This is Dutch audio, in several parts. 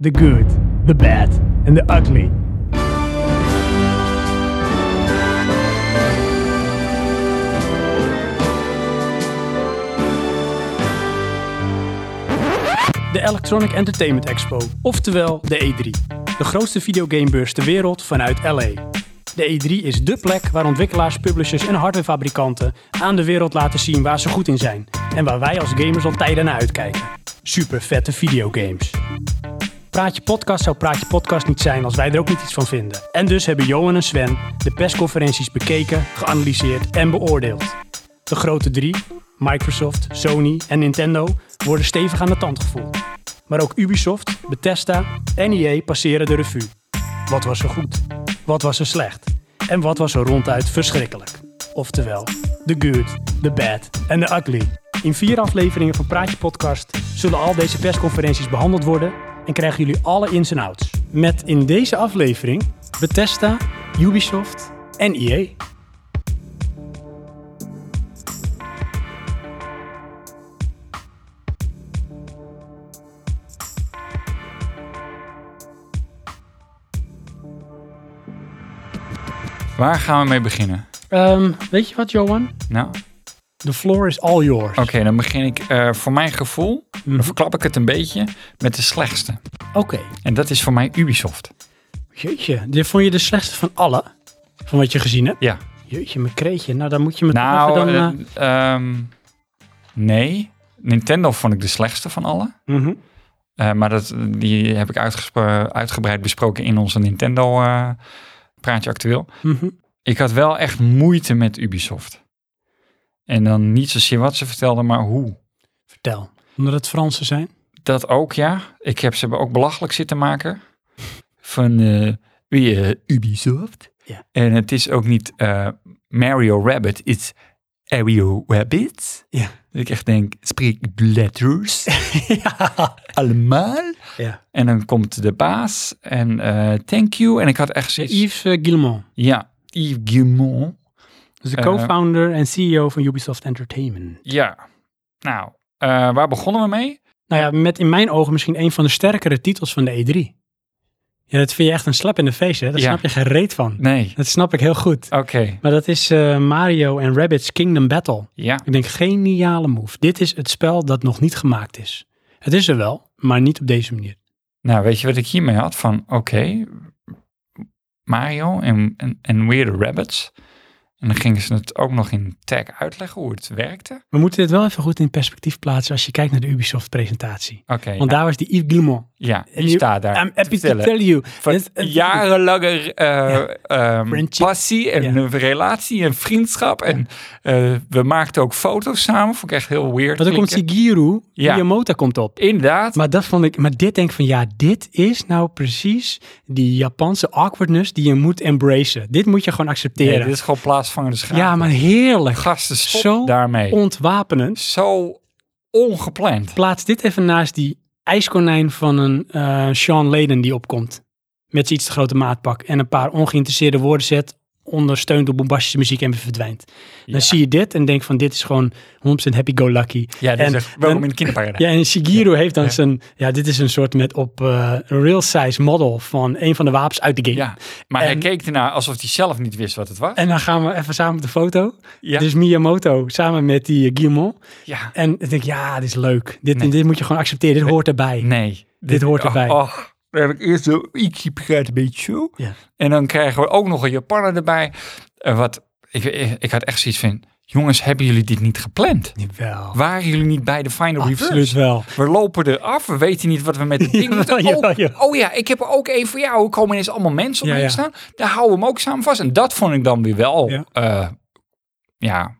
the good, the bad and the ugly. De Electronic Entertainment Expo, oftewel de E3. De grootste videogamebeurs ter wereld vanuit LA. De E3 is dé plek waar ontwikkelaars, publishers en hardwarefabrikanten aan de wereld laten zien waar ze goed in zijn en waar wij als gamers al tijden naar uitkijken. Super vette videogames. Praatje Podcast zou Praatje Podcast niet zijn als wij er ook niet iets van vinden. En dus hebben Johan en Sven de persconferenties bekeken, geanalyseerd en beoordeeld. De grote drie, Microsoft, Sony en Nintendo, worden stevig aan de tand gevoeld. Maar ook Ubisoft, Bethesda en EA passeren de revue. Wat was er goed? Wat was er slecht? En wat was er ronduit verschrikkelijk? Oftewel, the good, the bad en the ugly. In vier afleveringen van Praatje Podcast zullen al deze persconferenties behandeld worden en krijgen jullie alle ins en outs. Met in deze aflevering Bethesda, Ubisoft en E EA. Waar gaan we mee beginnen? Ehm, weet je wat, Johan? Oh. Nou, oké, The floor is all yours. dan begin ik eh, voor mijn gevoel, Mhm. dan verklap ik het een beetje, met de slechtste. Oké. En dat is voor mij Ubisoft. Jeetje, dit vond je de slechtste van alle? Van wat je gezien hebt? Ja. Jeetje, mijn kreetje. Nou, dan moet je me toch Nou, even dan... eh, eh, ehm, nee. Nintendo vond ik de slechtste van alle. mhm. Eh, maar dat, die heb ik uitgespro- uitgebreid besproken in onze Nintendo eh, praatje actueel. Mhm. Ik had wel echt moeite met Ubisoft. En dan niet zozeer wat ze vertelden, maar hoe. Vertel. Omdat het Fransen zijn? Dat ook, ja. Ik heb ze ook belachelijk zitten maken. Van eh, wie, eh, Ubisoft. Ja. En het is ook niet eh, Mario Rabbit, it's Mario Rabbit. Ja. Dat ik echt denk, spreek letters ja. allemaal. ja. En dan komt de baas en eh, thank you. En ik had echt zoiets... Yves eh, Guillemot. Ja, Yves Guillemot. Dat is de Eh. co-founder en CEO van Ubisoft Entertainment. Ja. Nou, eh, waar begonnen we mee? Nou ja, met in mijn ogen misschien een van de sterkere titels van de E3. Ja, dat vind je echt een slap in de face, hè? Daar Ja. snap je geen reet van. Nee. Dat snap ik heel goed. Oké, Maar dat is eh, Mario en Rabbids Kingdom Battle. ja. Ik denk, geniale move. Dit is het spel dat nog niet gemaakt is. Het is er wel, maar niet op deze manier. Nou, weet je wat ik hiermee had? Van oké, Mario en, en, en Weird Rabbits. En dan gingen ze het ook nog in tag uitleggen hoe het werkte. We moeten dit wel even goed in perspectief plaatsen als je kijkt naar de Ubisoft-presentatie. Oké, Want daar was die Yves Guillemot. ja, en die je- staat daar. I'm happy to vertellen. tell you. Van Yes, eh, jarenlange eh, ehm, Friendship. passie en Ja. een relatie en vriendschap. En eh, we maakten ook foto's samen. Vond ik echt heel weird. Want dan komt klinken. Shigeru, Ja. Miyamoto komt op. Inderdaad. Maar dat vond ik, maar dit denk ik van ja, dit is nou precies die Japanse awkwardness die je moet embracen. Dit moet je gewoon Nee, accepteren. dit is gewoon plaatsvangende schaam. ja, maar heerlijk. Gasten, stop Zo daarmee. Ontwapenend. Zo ongepland. Plaats dit even naast die ijskonijn van een eh, Sean Layden die opkomt. Met zijn iets te grote maatpak en een paar ongeïnteresseerde woorden zet, ondersteund door bombastische muziek en weer verdwijnt. Dan Ja. zie je dit en denk van dit is gewoon 100% happy-go-lucky. Ja, dit En- is echt welkom en- in de kinderparadijs. Ja, en Shigeru heeft dan Ja. zijn... Ja, dit is een soort met op eh, een real-size model van een van de wapens uit de game. Ja, maar hij En- keek ernaar alsof hij zelf niet wist wat het was. En dan gaan we even samen op de foto. ja, Dus Miyamoto samen met die uh, ja, En ik denk, ja, dit is leuk. Dit, Nee. dit moet je gewoon accepteren. Dit hoort erbij. nee. hoort oh, erbij. Oh, dan heb ik eerst zo, ik begrijp een beetje zo. Ja. En dan krijgen we ook nog een Japaner erbij. Eh, wat, ik, ik, ik had echt zoiets van, jongens, hebben jullie dit niet gepland? Jawel. Waren jullie niet bij de final Absoluut reverse? wel. We lopen eraf, we weten niet wat we met het ding moeten. Jawel, Oh, jawel. oh ja, ik heb er ook één voor jou. Er komen ineens allemaal mensen op Ja, mij ja. staan. Daar houden we hem ook samen vast. En dat vond ik dan weer wel, Ja. ja, ja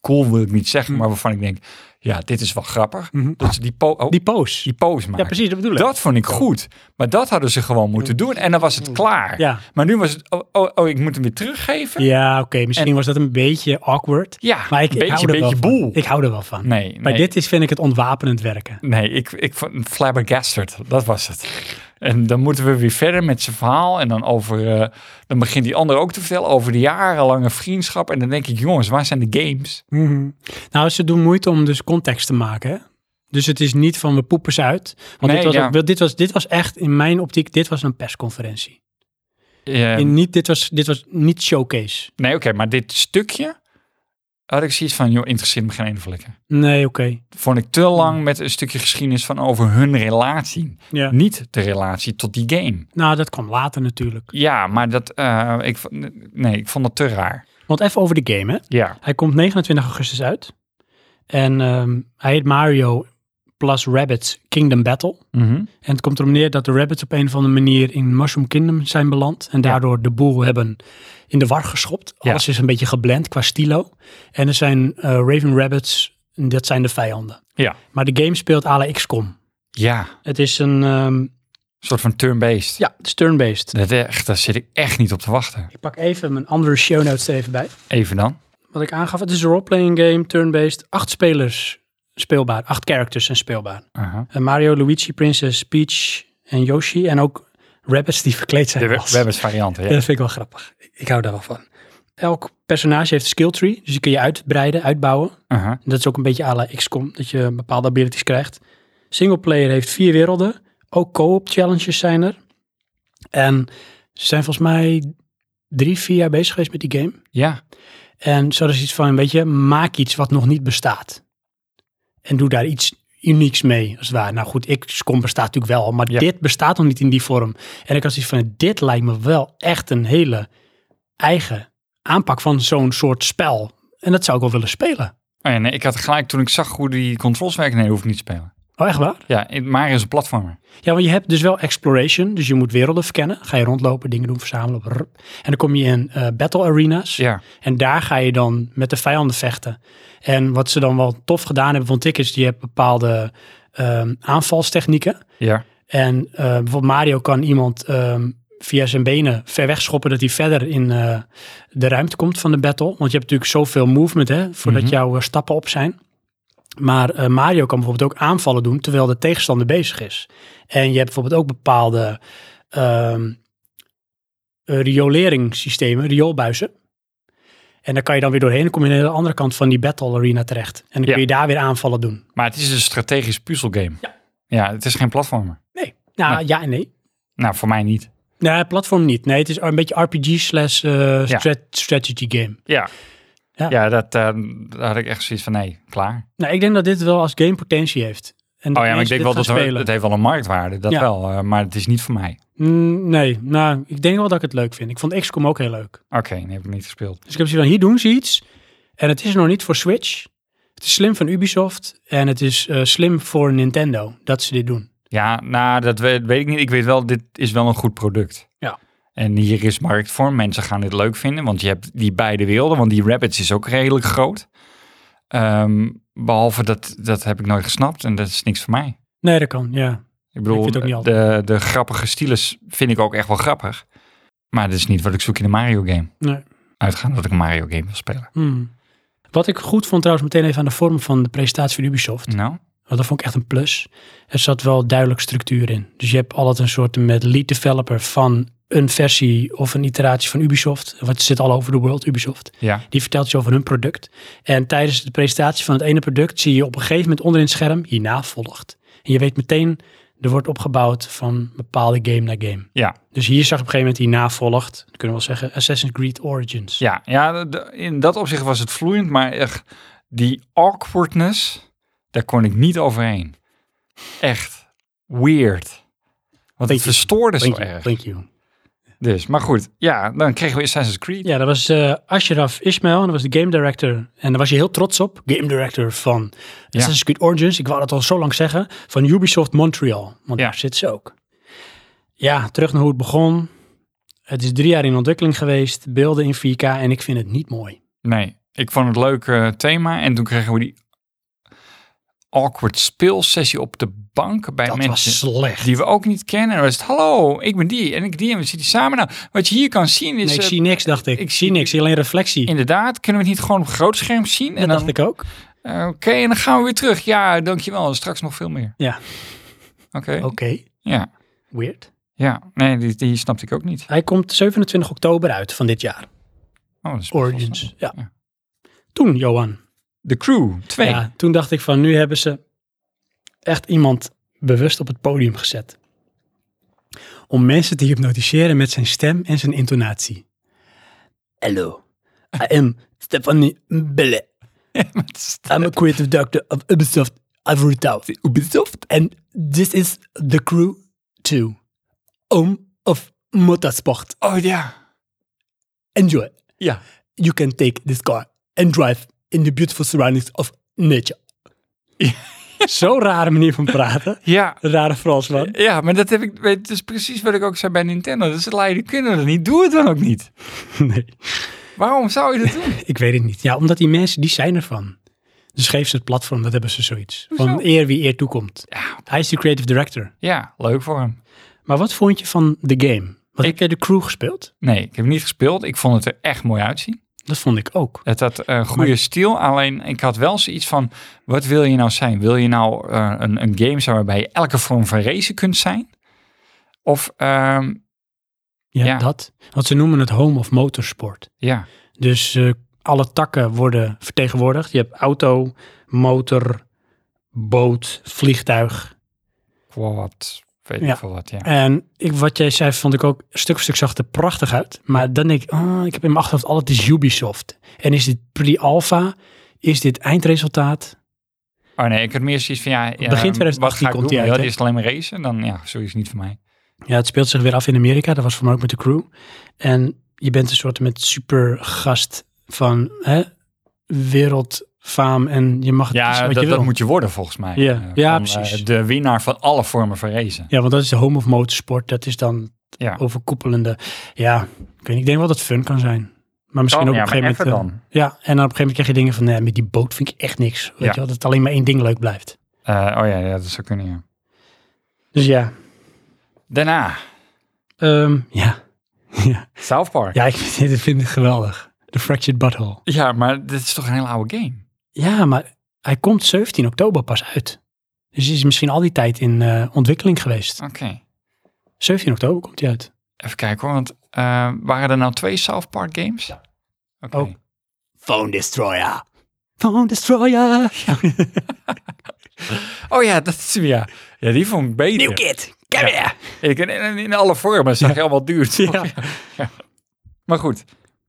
cool wil ik niet zeggen, Hm. maar waarvan ik denk, ja, dit is wel grappig. Mhm. Dat ze die, po oh, die, Die pose. pose maken. ja, precies, dat bedoel ik. Dat vond ik goed. Maar dat hadden ze gewoon moeten doen. En dan was het klaar. Ja, Maar nu was het, oh, oh, oh, ik moet hem weer teruggeven. ja oké. Misschien was dat een beetje awkward. Ja, Maar ik, ik beetje, hou er wel beetje van. boel. Ik hou er wel van. nee, nee. Maar dit is, vind ik, het ontwapenend werken. Nee, ik, ik vond flabbergasted. Dat was het. En dan moeten we weer verder met zijn verhaal. En dan, over, eh, dan begint die ander ook te vertellen over de jarenlange vriendschap. En dan denk ik, jongens, waar zijn de games? Nou, ze doen moeite om dus context te maken. hè? Dus het is niet van we poepen ze uit. Want Nee, dit, was ja. ook- dit, was, dit was echt in mijn optiek, dit was een persconferentie. Ja, In niet, dit, was, dit was niet showcase. Nee, oké, maar dit stukje had ik zoiets van, joh, interesseert me geen ene flikker. Nee, oké. Vond ik te lang met een stukje geschiedenis van over hun relatie. Ja. Niet de relatie tot die game. Nou, dat kwam later natuurlijk. Ja, maar dat, eh, ik, v- nee, ik vond dat te raar. Want even over de game, hè. Ja, Hij komt 29 augustus uit. En ehm, hij heet Mario plus Rabbits Kingdom Battle. Mhm. En het komt erom neer dat de rabbits op een of andere manier in Mushroom Kingdom zijn beland. En daardoor de boel hebben in de war geschopt. Ja. Alles is een beetje geblend qua stilo. En er zijn eh, Raven Rabbits, en dat zijn de vijanden. ja, Maar de game speelt à la XCOM. ja, een Het is een, ehm, soort van turn-based. ja, het is turn-based. Dat echt, daar zit ik echt niet op te wachten. Ik pak even mijn andere show notes er even bij. Even dan. Wat ik aangaf, het is een roleplaying game, turn-based. Acht spelers speelbaar, acht characters zijn speelbaar. Aha. Eh, Mario, Luigi, Princess, Peach en Yoshi. En ook rabbits die verkleed zijn De web- als- webbers varianten, Ja, ja. dat vind ik wel grappig. Ik- Ik hou daar wel van. Elk personage heeft een skill tree, dus die kun je uitbreiden, uitbouwen. Aha. En dat is ook een beetje à la XCOM, dat je bepaalde abilities krijgt. Singleplayer heeft vier werelden, ook co-op challenges zijn er. En ze zijn volgens mij drie, vier jaar bezig geweest met die game. Ja, En zo is iets van, weet je, maak iets wat nog niet bestaat. En doe daar iets unieks mee, als het ware. Nou goed, XCOM bestaat natuurlijk wel, maar Ja. dit bestaat nog niet in die vorm. En ik had zoiets van, dit lijkt me wel echt een hele eigen aanpak van zo'n soort spel. En dat zou ik wel willen spelen. Oh ja, nee, ik had gelijk toen ik zag hoe die controls werken. Nee, dat hoef ik niet te spelen. Oh, echt waar? Ja, in- Mario is een platformer. Ja, want je hebt dus wel exploration, dus je moet werelden verkennen. Ga je rondlopen, dingen doen, verzamelen. brrr. En dan kom je in eh, battle arenas. Ja, En daar ga je dan met de vijanden vechten. En wat ze dan wel tof gedaan hebben, vond ik, is die hebben bepaalde ehm, aanvalstechnieken. ja, En eh, bijvoorbeeld Mario kan iemand ehm, via zijn benen ver weg schoppen dat hij verder in eh, de ruimte komt van de battle. Want je hebt natuurlijk zoveel movement hè, voordat Mhm. jouw eh, stappen op zijn. Maar eh, Mario kan bijvoorbeeld ook aanvallen doen terwijl de tegenstander bezig is. En je hebt bijvoorbeeld ook bepaalde ehm eh, rioleringssystemen, rioolbuizen. En daar kan je dan weer doorheen en kom je aan de andere kant van die battle arena terecht. En dan Ja. kun je daar weer aanvallen doen. maar het is een strategisch puzzelgame. Ja. ja, het is geen platformer. Nee. Nou, Nee. ja en nee. Nou, voor mij niet. Nee, platform niet. Nee, het is een beetje RPG slash eh, Ja. strat- strategy game. Ja, Ja. ja. dat, eh, daar had ik echt zoiets van, nee, klaar. Nou, ik denk dat dit wel als game potentie heeft. En Oh ja, maar ik denk wel dat we- spelen. het heeft wel een marktwaarde, dat Ja. wel. eh, maar het is niet voor mij. Mm, nee, nou, ik denk wel dat ik het leuk vind. Ik vond XCOM ook heel leuk. Oké, nee, heb ik niet gespeeld. Dus ik heb zoiets van, hier doen ze iets. En het is nog niet voor Switch. Het is slim van Ubisoft. En het is eh, slim voor Nintendo dat ze dit doen. Ja, nou, dat weet, weet ik niet. Ik weet wel, dit is wel een goed product. Ja. En hier is markt voor. Mensen gaan dit leuk vinden, want je hebt die beide werelden. Want die Rabbits is ook redelijk groot. Ehm, behalve dat, dat heb ik nooit gesnapt en dat is niks voor mij. Nee, dat kan, ja. Ik bedoel, vind het ook niet de, de grappige stiles vind ik ook echt wel grappig. Maar dat is niet wat ik zoek in een Mario game. Nee. Uitgaan dat ik een Mario game wil spelen. Hmm. Wat ik goed vond trouwens meteen even aan de vorm van de presentatie van Ubisoft. Nou, Want dat vond ik echt een plus. Er zat wel duidelijk structuur in. Dus je hebt altijd een soort met lead developer van een versie of een iteratie van Ubisoft. Want het zit al over de world, Ubisoft. ja. Die vertelt iets over hun product. En tijdens de presentatie van het ene product zie je op een gegeven moment onderin het scherm hierna volgt. En je weet meteen, er wordt opgebouwd van bepaalde game naar game. Ja. Dus hier zag je op een gegeven moment hierna volgt. Dan kunnen we wel zeggen Assassin's Creed Origins. Ja, ja de- in dat opzicht was het vloeiend, maar echt, die awkwardness, daar kon ik niet overheen. Echt weird. Want het you. verstoorde zo Thank you, erg. thank you. Dus, maar goed, ja, dan kregen we Assassin's Creed. Ja, dat was eh Ashraf Ismail, dat was de game director. En daar was je heel trots op. Game director van Assassin's Creed Origins. Ik wou dat al zo lang zeggen. Van Ubisoft Montreal. Want Ja. daar zit ze ook. Ja, terug naar hoe het begon. Het is drie jaar in ontwikkeling geweest. Beelden in 4K en ik vind het niet mooi. Nee, ik vond het leuk eh, thema en toen kregen we die awkward speelsessie op de bank bij Dat mensen. was slecht. Die we ook niet kennen. En dan was het, hallo, ik ben die en ik die en we zitten samen. Nou, wat je hier kan zien is... Nee, ik eh, zie niks, dacht ik. Ik ik zie zie- niks, alleen reflectie. Inderdaad, kunnen we het niet gewoon op een groot scherm zien? dat en dan, dacht ik ook. Eh, Oké, en dan gaan we weer terug. Ja, dankjewel. Straks nog veel meer. Ja. Oké. Oké, Ja. weird. Ja. Nee, die, die snapte ik ook niet. Hij komt 27 oktober uit van dit jaar. Oh, dat is best wel snel. Origins, ja. Ja. Toen, Johan. The Crew 2. Ja, toen dacht ik van, nu hebben ze echt iemand bewust op het podium gezet. Om mensen te hypnotiseren met zijn stem en zijn intonatie. Hello, I am Stephanie Belle. I'm a creative director of Ubisoft Ivory Tower. Ubisoft? And this is the crew 2. Home of motorsport. Oh ja. Enjoy. Ja. You can take this car and drive in the beautiful surroundings of nature. Zo'n rare manier van praten. Ja. Een Rare Fransman. Ja, maar dat heb ik. weet- Dat is precies wat ik ook zei bij Nintendo. Dat ze leiden kunnen dat niet. Doe het dan ook niet. Nee, Waarom zou je dat doen? ik weet het niet. Ja, omdat die mensen, die zijn ervan. Dus geef ze het platform, dat hebben ze zoiets. Van eer wie eer toekomt. Ja. Hij is de creative director. Ja, leuk voor hem. Maar wat vond je van de game? Want ik heb de crew gespeeld. Nee, ik heb niet gespeeld. Ik vond het er echt mooi uitzien. Dat vond ik ook. Het had een goede Maar- stijl. Alleen ik had wel zoiets van: wat wil je nou zijn? Wil je nou eh, een, een game zijn waarbij je elke vorm van racen kunt zijn? Of ehm, Ja, Ja. dat. Want ze noemen het home of motorsport. ja, Dus eh, alle takken worden vertegenwoordigd. Je hebt auto, motor, boot, vliegtuig. quad, weet Ja. ik veel wat. Ja. En ik, wat jij zei, vond ik ook stuk voor stuk zag het er prachtig uit. Maar dan denk ik, ah, ik heb in mijn achterhoofd, al het is Ubisoft. En is dit pre-alpha? Is dit eindresultaat? Oh nee, ik had meer zoiets van: ja, ja Begin 2018 wat ga ik komt doen? die uit, Ja, hè? is het alleen maar racen? Dan ja, sowieso niet voor mij. Ja, het speelt zich weer af in Amerika. Dat was voor mij ook met de crew. En je bent een soort met supergast van hè, wereldfaam. En je mag het kiezen Ja, wat dat, je dat wil. moet je worden volgens mij. Ja. Eh, Ja, van, precies. eh, de winnaar van alle vormen van racen. Ja, want dat is de home of motorsport. Dat is dan Ja. overkoepelende. Ja, ik, weet, niet, ik denk wel dat het fun kan zijn. Maar misschien Oh, ook ja, op een maar gegeven moment. even eh, Ja, en dan op een gegeven moment krijg je dingen van nee, met die boot vind ik echt niks. Weet Ja. je wel, dat het alleen maar één ding leuk blijft. Eh, oh ja, ja, dat zou kunnen. Ja. Dus ja, Daarna, ehm, ja. ja. South Park. Ja, ik vind, dit vind ik geweldig. The Fractured Butthole. Ja, maar dit is toch een hele oude game? Ja, maar hij komt 17 oktober pas uit. Dus hij is misschien al die tijd in eh, ontwikkeling geweest. Oké. 17 oktober komt hij uit. Even kijken hoor, want eh, waren er nou twee South Park games? Ja. Oké. Oh. Phone Destroyer. Phone Destroyer. Oh ja, dat is ja. Ja, die vond ik beter. New Kid. Come Ja. here. Ik, in, in- in alle vormen zag je allemaal duurt. Ja. Maar goed.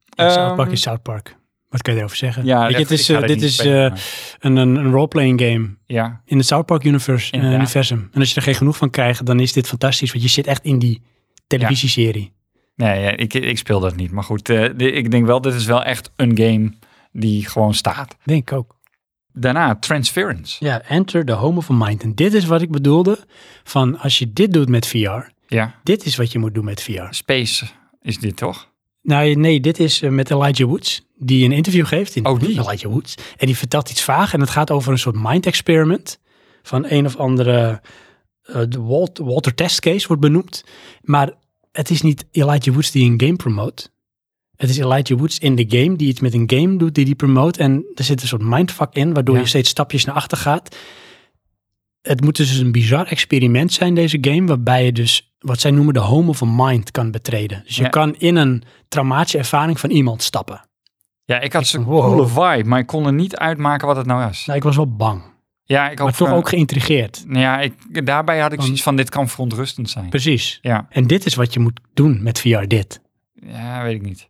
Ja, South Park Ehm, is South Park. Wat kan je erover zeggen? ja, Weet je, dat- het is, ik ga eh, dat dit niet is spelen, eh, maar- een, een, een roleplaying game ja, in het South Park universe, eh, Inderdaad. universum. En als je er geen genoeg van krijgt, dan is dit fantastisch. Want je zit echt in die televisieserie. nee, ja, ik, ik speel dat niet. Maar goed, eh, de- ik denk wel, dit is wel echt een game die gewoon staat. Denk ik ook. Daarna, Transference. Ja, Enter the Home of a Mind. En dit is wat ik bedoelde van als je dit doet met VR, Ja, dit is wat je moet doen met VR. Space is dit toch? Nou nee, dit is eh, met Elijah Woods, die een interview geeft in Oh, die. Elijah Woods. En die vertelt iets vaag en het gaat over een soort mind experiment van een of andere, eh, de Walt, Walter Test Case wordt benoemd. Maar het is niet Elijah Woods die een game promoot. Het is Elijah Woods in de game die iets met een game doet die die promoot. En er zit een soort mindfuck in, waardoor Ja. je steeds stapjes naar achter gaat. Het moet dus een bizar experiment zijn, deze game, waarbij je dus wat zij noemen de home of a mind kan betreden. Dus je Ja. kan in een traumatische ervaring van iemand stappen. Ja, ik had zo'n Wow. coole vibe, maar ik kon er niet uitmaken wat het nou was. Nou, ik was wel bang, Ja, ik maar ook, toch eh, ook geïntrigeerd. Nou Ja, ik, daarbij had ik Van- zoiets van, dit kan verontrustend zijn. Precies. Ja, En dit is wat je moet doen met VR dit. ja, weet ik niet.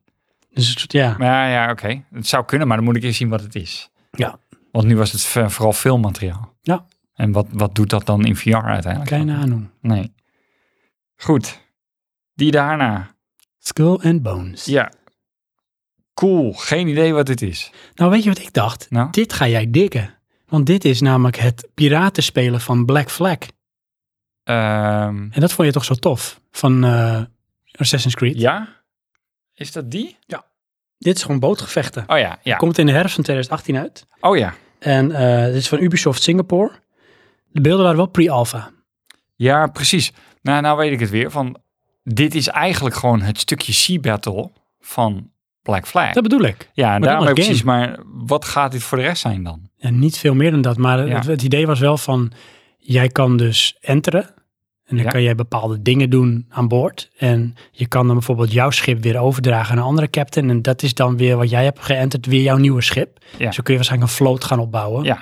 Dus het soort- ja, Maar ja, ja oké. Het zou kunnen, maar dan moet ik eerst zien wat het is. Ja. Want nu was het v- vooral filmmateriaal. Ja. nou. En wat, wat doet dat dan in VR uiteindelijk? kleine aanhoen. Nee. Goed. Die daarna. Skull and Bones. Ja. Cool. Geen idee wat dit is. Nou, weet je wat ik dacht? Nou? Dit ga jij dikken. Want dit is namelijk het piratenspelen van Black Flag. Ehm, En dat vond je toch zo tof? Van eh, Assassin's Creed. ja? Is dat die? Dit is gewoon bootgevechten. Oh ja, ja. Komt in de herfst van 2018 uit. Oh ja. En eh, dit is van Ubisoft Singapore. De beelden waren wel pre-alpha. Ja, precies. Nou, nou weet ik het weer. Van, dit is eigenlijk gewoon het stukje Sea Battle van Black Flag. Dat bedoel ik. Ja, en dan daarom als heb ik game. precies, maar wat gaat dit voor de rest zijn dan? En niet veel meer dan dat. Maar Ja. het, het idee was wel van, jij kan dus enteren. En dan Ja. kan jij bepaalde dingen doen aan boord. En je kan dan bijvoorbeeld jouw schip weer overdragen aan een andere captain. En dat is dan weer wat jij hebt geënterd, weer jouw nieuwe schip. Ja. Zo kun je waarschijnlijk een vloot gaan opbouwen. Ja.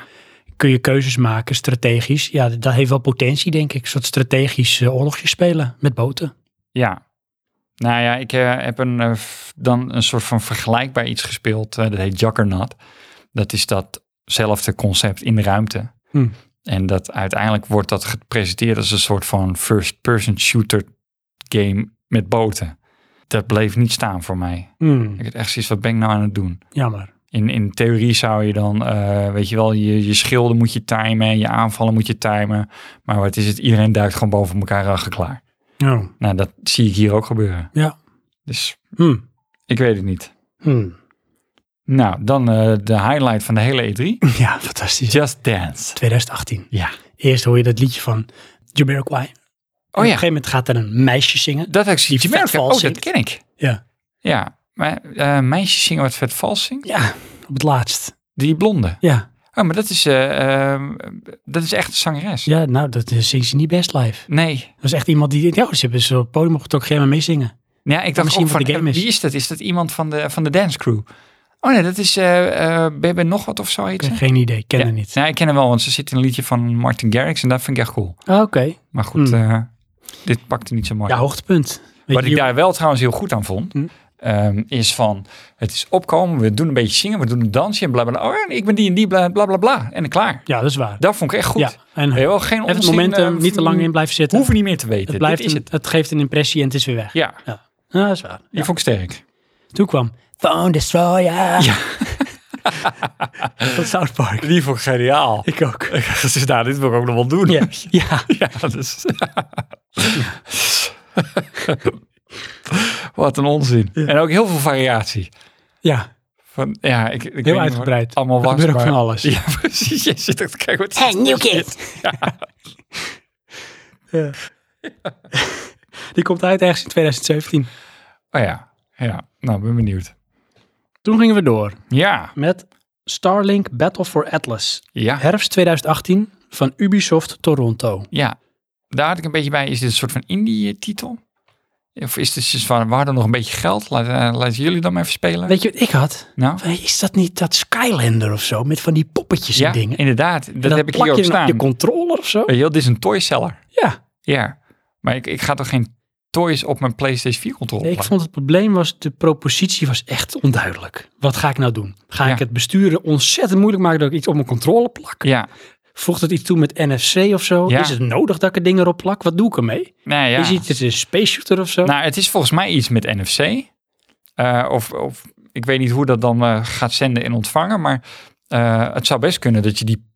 kun je keuzes maken, strategisch. Ja, dat heeft wel potentie, denk ik. Een soort strategisch eh, oorlogje spelen met boten. Ja. Nou ja, ik eh, heb een, eh, f- dan een soort van vergelijkbaar iets gespeeld. eh, dat heet Juggernaut. Dat is datzelfde concept in de ruimte. Hmm. En dat uiteindelijk wordt dat gepresenteerd als een soort van first-person shooter game met boten. Dat bleef niet staan voor mij. Hmm, Ik had echt zoiets, wat ben ik nou aan het doen? jammer. In, in theorie zou je dan, eh, weet je wel, je, je schilden moet je timen, je aanvallen moet je timen. Maar wat is het? Iedereen duikt gewoon boven elkaar achter klaar. Oh, Nou, dat zie ik hier ook gebeuren. Ja. Dus hmm, ik weet het niet. hmm. Nou, dan eh, de highlight van de hele E3. Ja, fantastisch. Just Dance. 2018. Ja. Eerst hoor je dat liedje van Jamiroquai. En Op Oh een ja, gegeven moment gaat er een meisje zingen. dat heb ik Die Die merk. vet vals Oh, dat zingt. ken ik. Ja. Ja, maar eh, meisjes zingen wat vet vals zingt. Ja, op het laatst. Die blonde. Ja, Oh, maar dat is, eh, eh, dat is echt een zangeres. ja nou, dat eh, zingt ze niet best live. Nee. Dat is echt iemand die... Ja, ze hebben zo op het podium mocht ook geen meezingen. Ja, ik dacht misschien ook wat van, de game eh, is. wie is dat? Is dat iemand van de, van de dance crew? Oh nee, dat is eh eh Bebe nog wat of zo heet ze. Geen idee, kennen Ja. niet. Nou, ik ken hem wel, want ze zit in een liedje van Martin Garrix en dat vind ik echt cool. Ah, Oké. Maar goed, Hmm. eh, dit pakte niet zo mooi. Ja, hoogtepunt. Weet Wat je, ik daar wel trouwens heel goed aan vond, Hm? ehm, is van het is opkomen, we doen een beetje zingen, we doen een dansje en bla bla bla. Oh, en ik ben die en die, bla bla bla bla. En dan klaar. Ja, dat is waar. Dat vond ik echt goed. Ja, en Heel geen even het onzin, momentum, eh, niet te lang in blijven zitten. Hoeven niet meer te weten. het, blijft Dit is een- het. het geeft een impressie en het is weer weg. Ja, Ja, Ah, dat is waar. die vond ik sterk. Toen kwam Phone Destroyer. Van South Park. Die vond ik geniaal. Ik ook. Dus nou, dit wil ik ook nog wel doen. Ja. ja. Ja, dus. Wat een onzin. En ook heel veel variatie. ja. Van, ja, ik, ik weet niet Heel wat uitgebreid. het Allemaal Er was, gebeurt ook maar- van alles. Ja, precies. Je zit ook te kijken wat Hey, new kids. Ja. Die komt uit ergens in 2017. Oh ja, ja. Nou, ben benieuwd. Toen gingen we door Ja, met Starlink Battle for Atlas. ja, Herfst 2018 van Ubisoft Toronto. ja. Daar had ik een beetje bij. Is dit een soort van indie-titel? Of is dit dus van, we hadden nog een beetje geld. Laat, eh, laten jullie dan maar even spelen. Weet je wat ik had? nou, Is dat niet dat Skylander of zo? Met van die poppetjes ja, en dingen. inderdaad. Dat, En dan heb ik plak hier ook je dan op staan. je controller of zo? Weet je wel, dit is een toyseller. Ja. Ja, maar ik, ik ga toch geen toys op mijn PlayStation 4 controller Nee, ik plakken? vond het probleem was, de propositie was echt onduidelijk. Wat ga ik nou doen? Ga Ja. ik het besturen ontzettend moeilijk maken dat ik iets op mijn controle plak? Ja, Voegt het iets toe met NFC of zo? Ja. Is het nodig dat ik er dingen erop plak? Wat doe ik ermee? nou ja. Is het is het een space shooter of zo? Nou, het is volgens mij iets met NFC. Eh, of, of ik weet niet hoe dat dan eh, gaat zenden en ontvangen. Maar eh, het zou best kunnen dat je die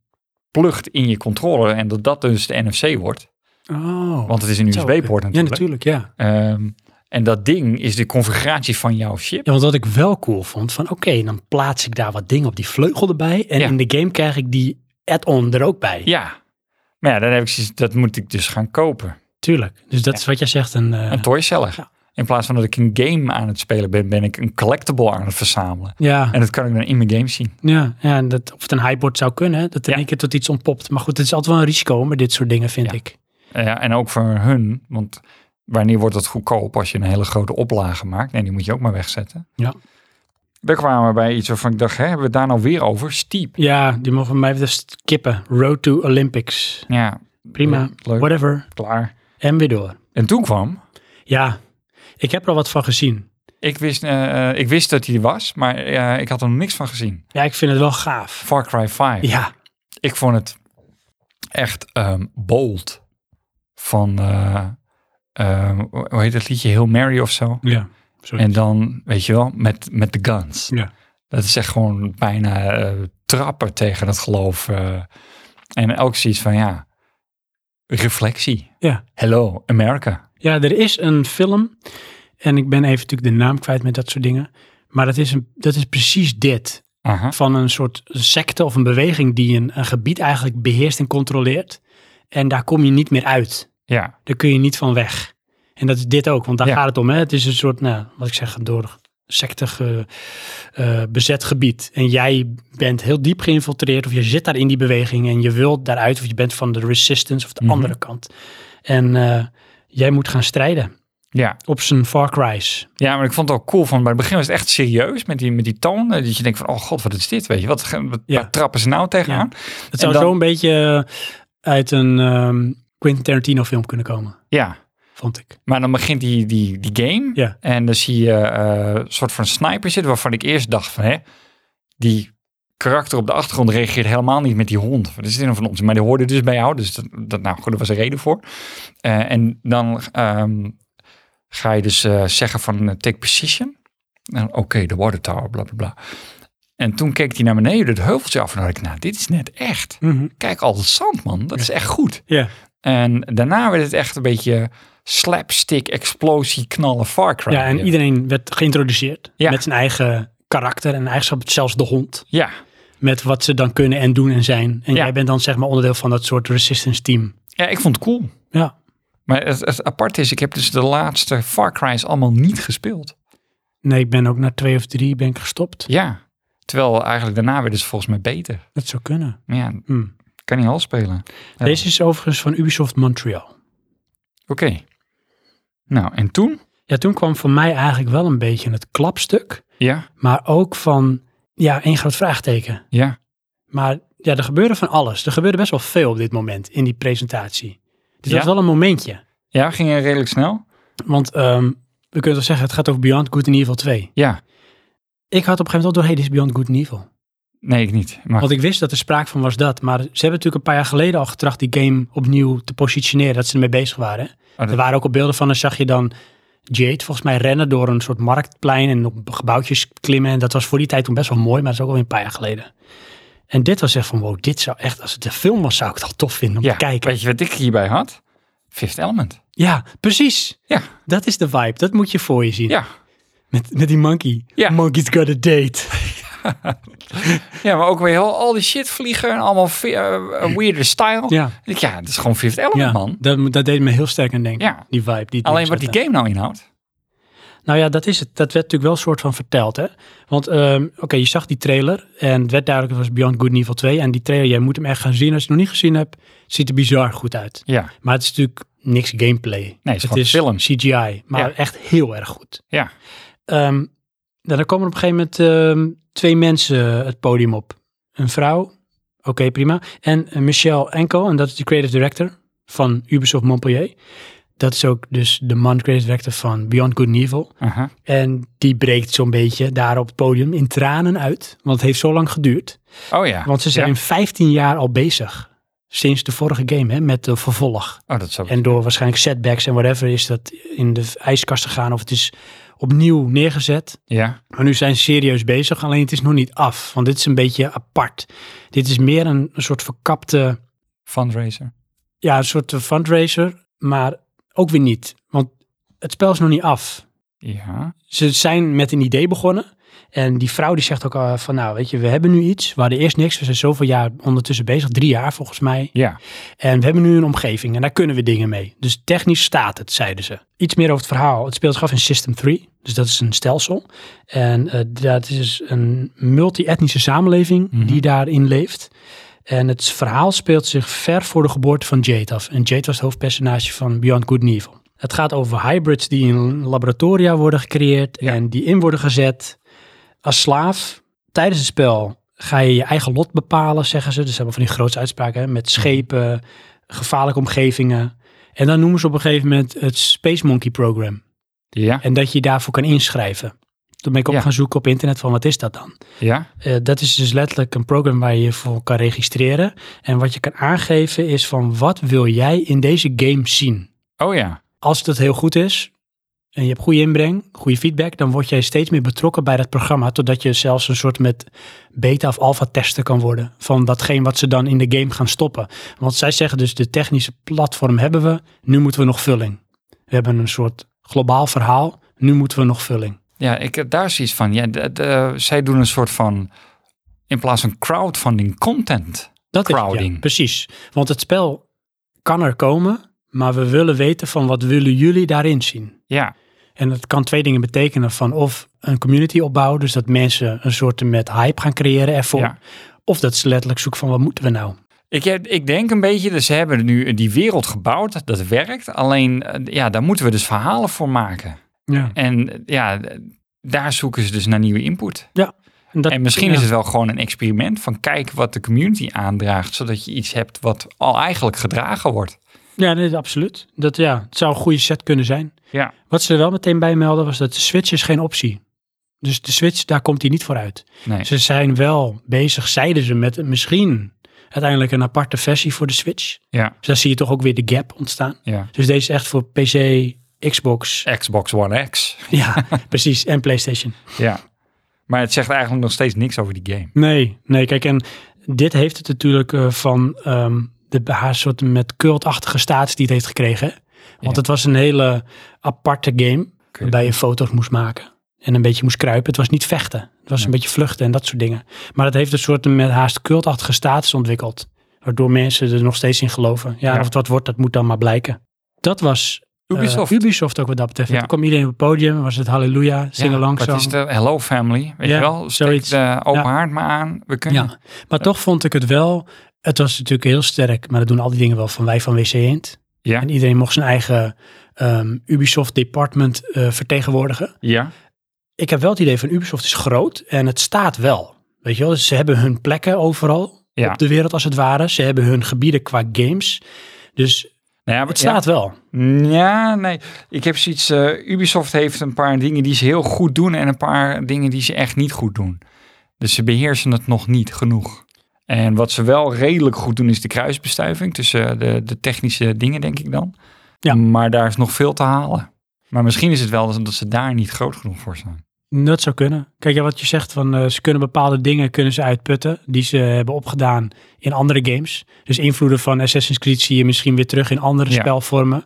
plugt in je controller. En dat dat dus de NFC wordt. oh, Want het is een Dat zou ook USB-poort kunnen. Ja, natuurlijk. natuurlijk, ja. Ehm, en dat ding is de configuratie van jouw chip. Ja, want wat ik wel cool vond, van oké, dan plaats ik daar wat dingen op die vleugel erbij. En Ja. in de game krijg ik die add-on er ook bij. Ja. Maar ja, dan heb ik, zoiets, dat moet ik dus gaan kopen. Tuurlijk. Dus dat is wat jij zegt, een, eh, Een toyseller. Ja. In plaats van dat ik een game aan het spelen ben, ben ik een collectible aan het verzamelen. ja, En dat kan ik dan in mijn game zien. ja, ja, en dat, of het een hypeboard zou kunnen, hè, dat er Ja. één keer tot iets ontpopt. Maar goed, het is altijd wel een risico met dit soort dingen, vind Ja. ik. Eh, Ja, en ook voor hun, want wanneer wordt het goedkoop als je een hele grote oplage maakt? Nee, die moet je ook maar wegzetten. Ja. Daar kwamen we bij iets waarvan ik dacht, hè, hebben we het daar nou weer over? Steep. Ja, die mogen mij even skippen. Road to Olympics. Ja, eh, Prima, Leuk, leuk. whatever. klaar. En weer door. En toen kwam, Ja, ik heb er al wat van gezien. ik wist, eh, eh, ik wist dat hij er was, maar eh, ik had er nog niks van gezien. Ja, ik vind het wel gaaf. Far Cry 5. Ja, Ik vond het echt ehm, bold van, eh, ehm, hoe heet dat liedje? Heel Mary of zo. ja. Sorry. En dan, weet je wel, met, met de guns. Ja. Dat is echt gewoon bijna eh, trappen tegen dat geloof. eh. en ook zoiets van, ja, reflectie. Ja. Hello, America. ja, er is een film. En ik ben even natuurlijk de naam kwijt met dat soort dingen. Maar dat is, een, dat is precies dit. Aha. Van een soort secte of een beweging die een, een gebied eigenlijk beheerst en controleert. En daar kom je niet meer uit. Ja, Daar kun je niet van weg. En dat is dit ook, want daar Ja. gaat het om. Hè? Het is een soort, nou, wat ik zeg, door secte ge- eh, bezet gebied. En jij bent heel diep geïnfiltreerd of je zit daar in die beweging en je wilt daaruit of je bent van de resistance of de Mhm. andere kant. En eh, jij moet gaan strijden. Ja. op zijn Far Cry's. ja, maar ik vond het ook cool. Van, bij het begin was het echt serieus met die, met die toon. eh, Dat je denkt van, oh god, wat is dit? Weet je, wat, ge- wat Ja. waar trappen ze nou tegenaan? Ja, Het zou dan- zo een beetje eh, uit een ehm, Quentin Tarantino film kunnen komen, vond ik. maar dan begint die, die, die game. Ja. En dan zie je eh, een soort van sniper zitten. Waarvan ik eerst dacht van, hè, die karakter op de achtergrond reageert helemaal niet met die hond. Wat is dit nou van ons? Maar die hoorde dus bij jou. Dus dat, dat, nou goed, daar was een reden voor. Eh, en dan ehm, ga je dus eh, zeggen van eh, take position. En Oké, de water tower, bla bla bla. En toen keek hij naar beneden, het heuveltje af. En dacht ik, nou, dit is net echt. Kijk, al het zand, man. Dat is echt goed. Ja. En daarna werd het echt een beetje slapstick, explosie, knallen, Far Cry. Ja, en iedereen werd geïntroduceerd Ja. met zijn eigen karakter en eigenschap, zelfs de hond. Ja, Met wat ze dan kunnen en doen en zijn. En Ja. jij bent dan zeg maar onderdeel van dat soort resistance team. ja, ik vond het cool. Ja, Maar het, het aparte is, ik heb dus de laatste Far Cry's allemaal niet gespeeld. nee, ik ben ook na twee of drie ben ik gestopt. Ja, terwijl eigenlijk daarna werd het volgens mij beter. Dat zou kunnen. Maar ja, Hm. ik kan niet al spelen. Ja. Deze is overigens van Ubisoft Montreal. Oké. Nou, en toen? Ja, toen kwam voor mij eigenlijk wel een beetje het klapstuk. Ja, Maar ook van, ja, één groot vraagteken. ja. Maar ja, er gebeurde van alles. Er gebeurde best wel veel op dit moment in die presentatie. Dit Ja? was wel een momentje. Ja, ging er redelijk snel? Want ehm, we kunnen toch zeggen, het gaat over Beyond Good and Evil 2. Ja. Ik had op een gegeven moment al door, hey, dit is Beyond Good and Evil. Nee, ik niet. Maar Want ik wist dat er sprake van was dat. Maar ze hebben natuurlijk een paar jaar geleden al getracht die game opnieuw te positioneren. Dat ze ermee bezig waren. oh, dat- Er waren ook al beelden van, dan zag je dan Jade volgens mij rennen door een soort marktplein en op gebouwtjes klimmen. En dat was voor die tijd toen best wel mooi, maar dat is ook alweer een paar jaar geleden. En dit was echt van, wow, dit zou echt, als het een film was, zou ik het al tof vinden om ja, te kijken. weet je wat ik hierbij had? Fifth Element. Ja, precies. Ja. Dat is de vibe. Dat moet je voor je zien. Ja. Met, met die monkey. Ja. Monkey's got a date. Ja, maar ook weer heel, al die shit vliegen en allemaal ve- eh, eh, weirder style. Ja. Ik, Ja, het is gewoon Fifth Element, Ja, Oh, man. dat, moet- dat deed me heel sterk aan denken. Ja. Die vibe. Die Alleen wat die game. game nou inhoudt. Nou ja, dat is het. Dat werd natuurlijk wel een soort van verteld, hè. Want, ehm, oké, je zag die trailer en het werd duidelijk, het was Beyond Good and Evil 2. En die trailer, jij moet hem echt gaan zien. Als je het nog niet gezien hebt, ziet er bizar goed uit. Ja, Maar het is natuurlijk niks gameplay. Nee, het is gewoon film. CGI, maar Ja. echt heel erg goed. ja. Ehm, nou, dan komen er op een gegeven moment ehm, twee mensen het podium op. Een vrouw, oké, prima. En eh, Michel Enkel, en dat is de creative director van Ubisoft Montpellier. Dat is ook dus de man creative director van Beyond Good and Evil. aha. En die breekt zo'n beetje daar op het podium in tranen uit. Want het heeft zo lang geduurd. Oh ja. Want ze zijn Ja. 15 jaar al bezig. Sinds de vorige game, hè, met de vervolg. Oh, dat zou... En door waarschijnlijk setbacks en whatever is dat in de ijskast gegaan. Of het is opnieuw neergezet. Ja, Maar nu zijn ze serieus bezig. Alleen het is nog niet af. Want dit is een beetje apart. Dit is meer een, een soort verkapte fundraiser. ja, een soort fundraiser. Maar ook weer niet. Want het spel is nog niet af Ja. ze zijn met een idee begonnen. En die vrouw die zegt ook al van, nou weet je, we hebben nu iets. We hadden eerst niks. We zijn zoveel jaar ondertussen bezig. Drie jaar volgens mij. Ja. En we hebben nu een omgeving en daar kunnen we dingen mee. Dus technisch staat het, zeiden ze. Iets meer over het verhaal. Het speelt zich af in System 3. Dus dat is een stelsel. En eh, dat is een multi-etnische samenleving Mhm. die daarin leeft. En het verhaal speelt zich ver voor de geboorte van Jade af. En Jade was het hoofdpersonage van Beyond Good and Evil. Het gaat over hybrids die in laboratoria worden gecreëerd Ja. en die in worden gezet als slaaf. Tijdens het spel ga je je eigen lot bepalen, zeggen ze. Dus ze hebben van die grootste uitspraken hè, Mhm. met schepen, gevaarlijke omgevingen. En dan noemen ze op een gegeven moment het Space Monkey Program. Ja. En dat je je daarvoor kan inschrijven. Toen ben ik ook Ja. gaan zoeken op internet van wat is dat dan? Ja. Eh, dat is dus letterlijk een programma waar je je voor kan registreren. En wat je kan aangeven is van wat wil jij in deze game zien? Oh ja. Als dat heel goed is en je hebt goede inbreng, goede feedback, dan word jij steeds meer betrokken bij dat programma. Totdat je zelfs een soort met beta of alpha tester kan worden van datgene wat ze dan in de game gaan stoppen. Want zij zeggen dus de technische platform hebben we, nu moeten we nog vulling. We hebben een soort globaal verhaal, nu moeten we nog vulling. Ja, ik, eh, daar is iets van. Ja, de, de- zij doen een soort van... In plaats van crowdfunding content. Dat is het, Crowding. ja, precies. Want het spel kan er komen, maar we willen weten van wat willen jullie daarin zien. Ja. En dat kan twee dingen betekenen van of een community opbouwen, dus dat mensen een soort met hype gaan creëren ervoor. Ja. Of dat ze letterlijk zoeken van wat moeten we nou. Ik, heb- ik denk een beetje, dus ze hebben nu die wereld gebouwd, dat werkt. Alleen, eh, ja, daar moeten we dus verhalen voor maken. Ja. En eh, ja, d- daar zoeken ze dus naar nieuwe input. En, dat- en misschien ja. is het wel gewoon een experiment van kijk wat de community aandraagt, zodat je iets hebt wat al eigenlijk gedragen wordt. Ja, nee, absoluut. Dat, ja, het zou een goede set kunnen zijn. Ja. Wat ze er wel meteen bij melden was dat de Switch is geen optie. Dus de Switch, daar komt hij niet voor uit. Nee. Ze zijn wel bezig, zeiden ze, met misschien uiteindelijk een aparte versie voor de Switch. Ja, Dus daar zie je toch ook weer de gap ontstaan. ja. Dus deze is echt voor PC, Xbox, Xbox One X. ja, precies, en PlayStation. Ja. Maar het zegt eigenlijk nog steeds niks over die game. Nee, nee, kijk, en dit heeft het natuurlijk eh, van ehm, de haar soort met cultachtige status die het heeft gekregen. hè? Want Ja. het was een hele aparte game waarbij je foto's moest maken en een beetje moest kruipen. Het was niet vechten, het was een Nee. beetje vluchten en dat soort dingen. Maar het heeft een soort met haast cultachtige status ontwikkeld, waardoor mensen er nog steeds in geloven. Ja, Ja. of het wat wordt, dat moet dan maar blijken. Dat was eh, Ubisoft. Ubisoft ook wat dat betreft. Ja. Toen kwam iedereen op het podium, was het halleluja, Ja, zing-along Wat is song. de Hello Family? Weet Ja, je wel? Steek zoiets. de open Ja. haard maar aan. We kunnen. Ja, maar toch vond ik het wel. Het was natuurlijk heel sterk, maar dat doen al die dingen wel van wij van WC Eend. Ja. En iedereen mocht zijn eigen ehm, Ubisoft department eh, vertegenwoordigen. ja. Ik heb wel het idee van Ubisoft is groot en het staat wel. Weet je wel, dus ze hebben hun plekken overal Ja. op de wereld als het ware. Ze hebben hun gebieden qua games. Dus Nou ja, het ja. staat wel. Ja, nee. Ik heb zoiets. eh, Ubisoft heeft een paar dingen die ze heel goed doen en een paar dingen die ze echt niet goed doen. Dus ze beheersen het nog niet genoeg. En wat ze wel redelijk goed doen is de kruisbestuiving tussen eh, de, de technische dingen, denk ik dan. Ja. Maar daar is nog veel te halen. Maar misschien is het wel dat dat ze daar niet groot genoeg voor zijn. Dat zou kunnen. Kijk, ja, wat je zegt van eh, ze kunnen bepaalde dingen kunnen ze uitputten die ze hebben opgedaan in andere games. Dus invloeden van Assassin's Creed zie je misschien weer terug in andere Ja. spelvormen.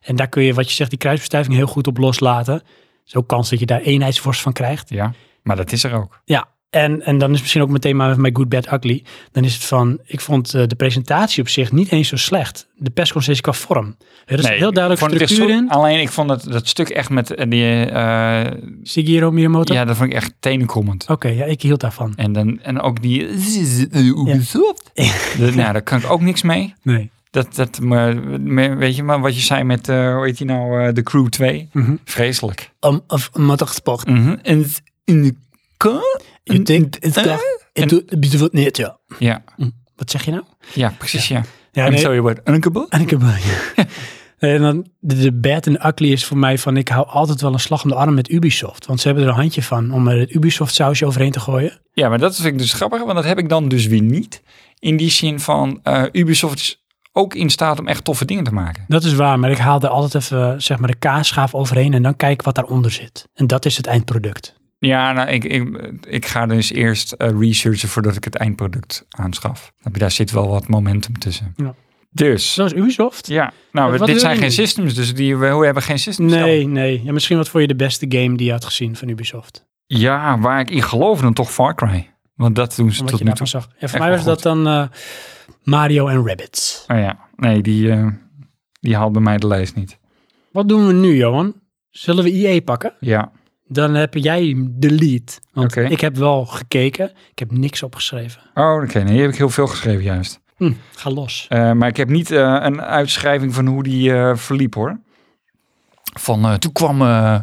En daar kun je wat je zegt, die kruisbestuiving heel goed op loslaten. Er is ook kans dat je daar eenheidsvorst van krijgt. Ja, maar dat is er ook. Ja, en, en dan is misschien ook meteen maar mijn Good Bad Ugly. Dan is het van, ik vond eh, de presentatie op zich niet eens zo slecht. De persconferentie qua vorm. Er is Nee, heel ik duidelijk vond het echt structuur zo- in. Alleen ik vond dat, dat stuk echt met eh, die. eh, Shigeru Miyamoto? ja, dat vond ik echt tenenkomend. Oké, ja, ik hield daarvan. En, dan, en ook die eh, Ubisoft. De- nou, daar kan ik ook niks mee. Nee. Dat, dat, maar, maar weet je maar wat je zei met, eh, hoe heet die nou, eh, de Crew 2? Mhm. Vreselijk. Om, of, om het gesport. Mhm. En in de ka- Je denkt, het eh, kan. en- Het doet het doet niet, ja. Ja, Wat zeg je nou? ja precies, ja. Ja, En nee. zo je wordt unable. En ik heb... Nee, en dan, de, de bad en ugly is voor mij van, ik hou altijd wel een slag om de arm met Ubisoft. Want ze hebben er een handje van om er het Ubisoft sausje overheen te gooien. Ja, maar dat vind ik dus grappig, want dat heb ik dan dus weer niet. In die zin van, eh, Ubisoft is ook in staat om echt toffe dingen te maken. Dat is waar, maar ik haal er altijd even zeg maar de kaasschaaf overheen en dan kijk ik wat daaronder zit. En dat is het eindproduct. Ja, nou, ik, ik, ik ga dus eerst eh, researchen voordat ik het eindproduct aanschaf. Daar zit wel wat momentum tussen. Ja. Dus, Zoals Ubisoft? Ja, nou, Wat wil dit zijn je geen nu? systems, dus die, we we hebben geen systems. Nee, nee. Ja, misschien wat voor je de beste game die je had gezien van Ubisoft. Ja, waar ik in geloof, dan toch Far Cry. Want dat doen ze Omdat tot je nu daarvan toe. zag. En Echt voor mij wel was dat dan eh, Mario en Rabbids. Oh ja, nee, die, eh, die haalt bij mij de lijst niet. Wat doen we nu, Johan? Zullen we IE pakken? Ja, Dan heb jij de lead. Want Oké. ik heb wel gekeken. Ik heb niks opgeschreven. oh, oké, nee, hier heb ik heel veel geschreven juist. Hm, ga los. Eh, maar ik heb niet eh, een uitschrijving van hoe die eh, verliep, hoor. Van, eh, toen kwam eh,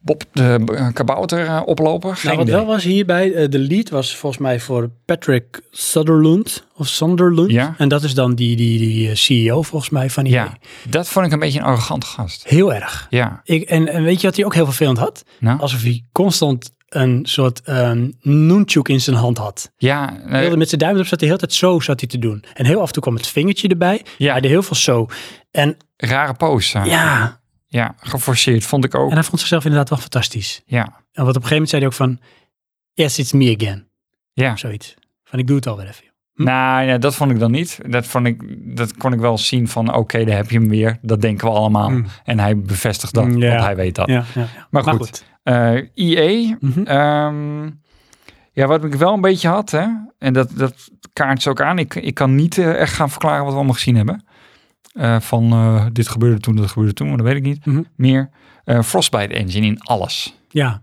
Bob de eh, kabouter eh, oplopen. Geen Nou, wat idee. wel was hierbij, eh, de lead was volgens mij voor Patrick Sutherland. Of Sunderland. Ja. En dat is dan die, die, die eh, CEO volgens mij van IE. Ja, dat vond ik een beetje een arrogante gast. Heel erg. Ja, Ik, en, en weet je wat hij ook heel vervelend had? nou, Alsof hij constant een soort ehm nunchuk in zijn hand had. ja, eh, Hij wilde met zijn duim erop zat hij de hele tijd zo zat hij te doen. En heel af en toe kwam het vingertje erbij. Ja. Hij deed heel veel zo. En rare pose. eh. ja, ja, geforceerd vond ik ook. En hij vond zichzelf inderdaad wel fantastisch. Ja. En wat op een gegeven moment zei hij ook van... Yes, it's me again. Ja. Of zoiets. Van ik doe het alweer even. Hm? Nou ja, dat vond ik dan niet. Dat, vond ik, dat kon ik wel zien van, oké, daar heb je hem weer. Dat denken we allemaal. Mm. En hij bevestigt dat, Mm, ja. want hij weet dat. Ja, Nou ja, ja. Oh. Maar goed, Eh, EA, Mhm. ehm, ja, wat ik wel een beetje had, hè, en dat, dat kaart ze ook aan. Ik, ik kan niet eh, echt gaan verklaren wat we allemaal gezien hebben. Eh, van eh, dit gebeurde toen, dat gebeurde toen, maar dat weet ik niet Mhm. meer. Eh, Frostbite Engine in alles. Ja.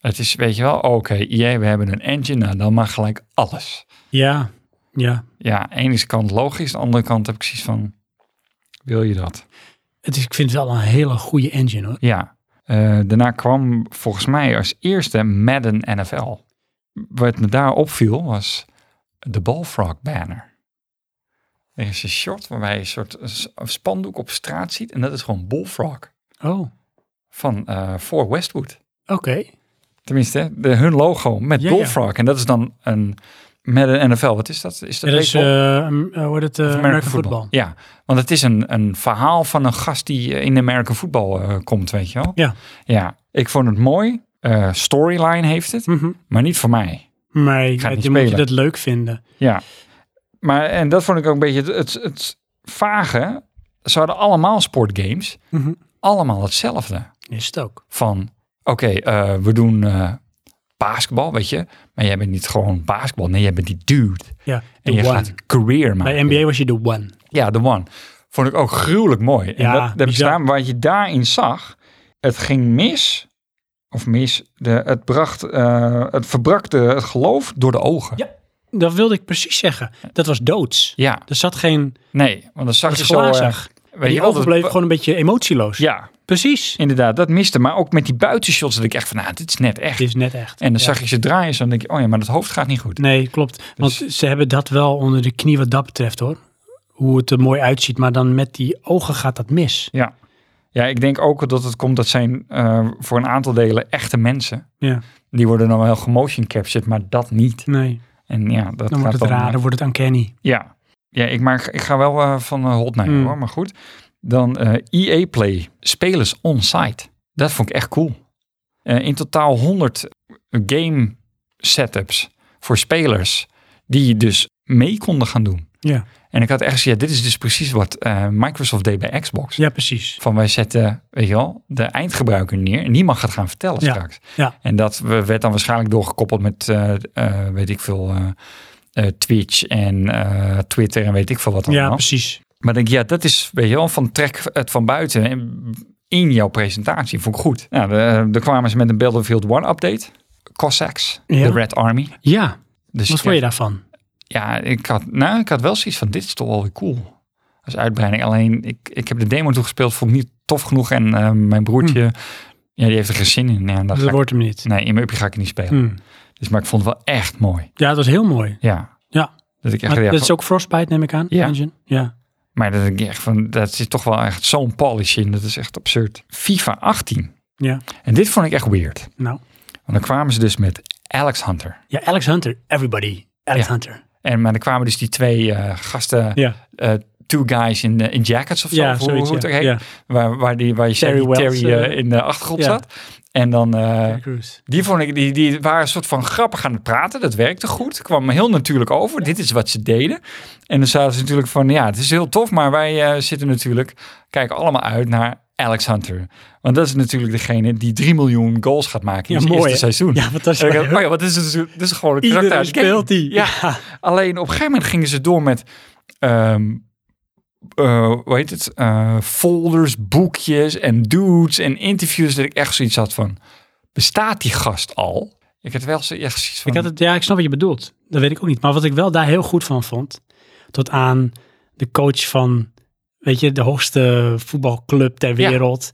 E, Het is, weet je wel, oké, EA, we hebben een engine, nou dan mag gelijk alles. Ja. Ja. Ja, aan de ene kant logisch, aan de andere kant heb ik zoiets van, wil je dat? Het is, ik vind het wel een hele goede engine hoor. Ja. Eh, daarna kwam volgens mij als eerste Madden NFL. Wat me daar opviel was de Ballfrog banner. Er is een short waarbij je een soort s- spandoek op straat ziet. En dat is gewoon Bullfrog Oh, oké. van eh voor Westwood. Tenminste, de, hun logo met Ja, ja. Bullfrog. En dat is dan een Madden NFL. Wat is dat? Is dat Dat is, baseball? eh, m- eh, hoe heet het, eh, Of American Football. Ja, want het is een, een verhaal van een gast die eh, in American Football eh, komt, weet je wel. Ja. Ja, ik vond het mooi. Eh, storyline heeft het, Mhm. maar niet voor mij. Maar ga het je niet moet je spelen. dat leuk vinden. Ja. Maar, en dat vond ik ook een beetje het, het, het vage. Ze hadden allemaal sportgames, Mhm. allemaal hetzelfde. Is het ook. Van, oké, eh, we doen eh basketbal, weet je. Maar jij bent niet gewoon basketbal. Nee, jij bent die dude. Ja, de En je one. gaat career maken. Bij NBA was je de one. Ja, de One. Vond ik ook gruwelijk mooi. Ja, en dat, bizar. dat bestaan, wat je daarin zag, het ging mis. Of mis, de, het, bracht, eh, het verbrak de, het geloof door de ogen. Ja. Dat wilde ik precies zeggen. Dat was doods. Ja, Er zat geen... nee, want dan zag Dat je is zo... eh, glazig. weet die je wel, ogen dat- bleven gewoon een beetje emotieloos. Ja, Precies. inderdaad, dat miste. Maar ook met die buitenshots, dat ik echt van, nou, dit is net echt. Het is net echt. En dan Ja. zag je Dus- ze draaien, zo, dan denk je, oh ja, maar dat hoofd gaat niet goed. Nee, klopt. Want ze hebben dat wel onder de knie wat dat betreft hoor. Hoe het er mooi uitziet, maar dan met die ogen gaat dat mis. Ja. ja, ik denk ook dat het komt, dat zijn eh, voor een aantal delen echte mensen. Ja, Die worden dan wel gemotion captured, maar dat niet. nee. En ja, dat gaat eh, Dan wordt het raar, dan wordt het uncanny. Ja, ja ik, maak, ik ga wel eh, van uh, hot naar her, Mm. hoor, maar goed. Dan eh EA Play, spelers on-site. Dat vond ik echt cool. Eh, in totaal 100 game setups voor spelers die dus mee konden gaan doen. Ja, En ik had echt gezegd, ja, dit is dus precies wat eh, Microsoft deed bij Xbox. ja precies. Van wij zetten, weet je wel, de eindgebruiker neer. En niemand gaat gaan vertellen Ja, straks. ja. En dat we- werd dan waarschijnlijk doorgekoppeld met, eh, eh, weet ik veel, eh, eh, Twitch en eh, Twitter en weet ik veel wat Ja, allemaal. precies. maar ik denk, ja, dat is, weet je wel, van trek het van buiten en in jouw presentatie. Vond ik goed. Nou, de- er kwamen ze met een Battlefield One update. Cossacks, Ja. de Red Army. Ja, Dus wat vond je daarvan? ja, ik had, nou, ik had wel zoiets van, dit is toch wel weer cool. Als uitbreiding. Alleen, ik, ik heb de demo toegespeeld, vond ik niet tof genoeg. En eh, mijn broertje, ja, die heeft er geen zin in. Ja, en dan Hm. Dus Dat ga ik- wordt hem niet. nee, in mijn upje ga ik het niet spelen. Hmm. Dus, maar ik vond het wel echt mooi. Ja, dat was heel mooi. Ja. Ja. Dat ik echt, Maar ja, dat is ook Frostbite, neem ik aan. Ja. Engine. ja. maar dat ik echt van, dat zit toch wel echt zo'n polish in. Dat is echt absurd. FIFA 18. Ja. En dit vond ik echt weird. Nou. Want dan kwamen ze dus met Alex Hunter. Ja, Alex Hunter. Everybody. Alex Ja. Hunter. En, maar dan kwamen dus die twee eh, gasten, Ja, eh, two guys in, eh, in jackets of zo. ja of hoe, hoe zoiets. het Ja. ook heet. Ja. Waar, waar, die, waar je zei Terry die Terry, Wells, eh, eh, in de achtergrond ja. zat. En dan, eh, Cruise. die vond ik, die, die waren een soort van grappig aan het praten. Dat werkte goed. Kwam heel natuurlijk over. Dit is wat ze deden. En dan zaten ze natuurlijk van, ja, het is heel tof. Maar wij eh, zitten natuurlijk, kijken allemaal uit naar Alex Hunter. Want dat is natuurlijk degene die 3 miljoen goals gaat maken in Ja, het mooi, eerste hè? seizoen. Ja, fantastisch. En ik dacht, oh ja, wat is het? Dit is gewoon een karakter Iedereen uit de game. speelt die. Ja. Alleen op een gegeven moment gingen ze door met. ehm, eh, hoe heet het? Eh, folders, boekjes en dudes en interviews. Dat ik echt zoiets had van. Bestaat die gast al? Ik had wel zo echt zoiets van. Ik had het, ja, ik snap wat je bedoelt. Dat weet ik ook niet. Maar wat ik wel daar heel goed van vond, tot aan de coach van, weet je, de hoogste voetbalclub ter wereld.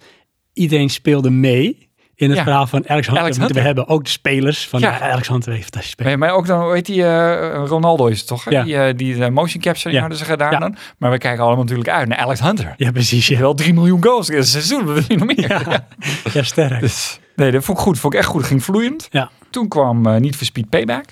Iedereen speelde mee in het Ja. verhaal van Alex Hunter. Alex moeten we hebben ook de spelers van Ja. ja. Alex Hunter. Heeft fantastisch spelen. Maar- Maar ook dan, weet die, eh, Ronaldo is het toch? hè? Ja. Die, eh, die eh, motion capturing Ja. hadden ze gedaan Ja. dan. Maar we kijken allemaal natuurlijk uit naar Alex Hunter. Ja, precies. Die Ja, Wel 3 miljoen goals in het seizoen, wat wil je nog meer? ja. Ja, sterk. Dus, nee, dat vond ik goed. Vond ik echt goed. Ging vloeiend. Ja. Toen kwam eh, Niet for Speed Payback.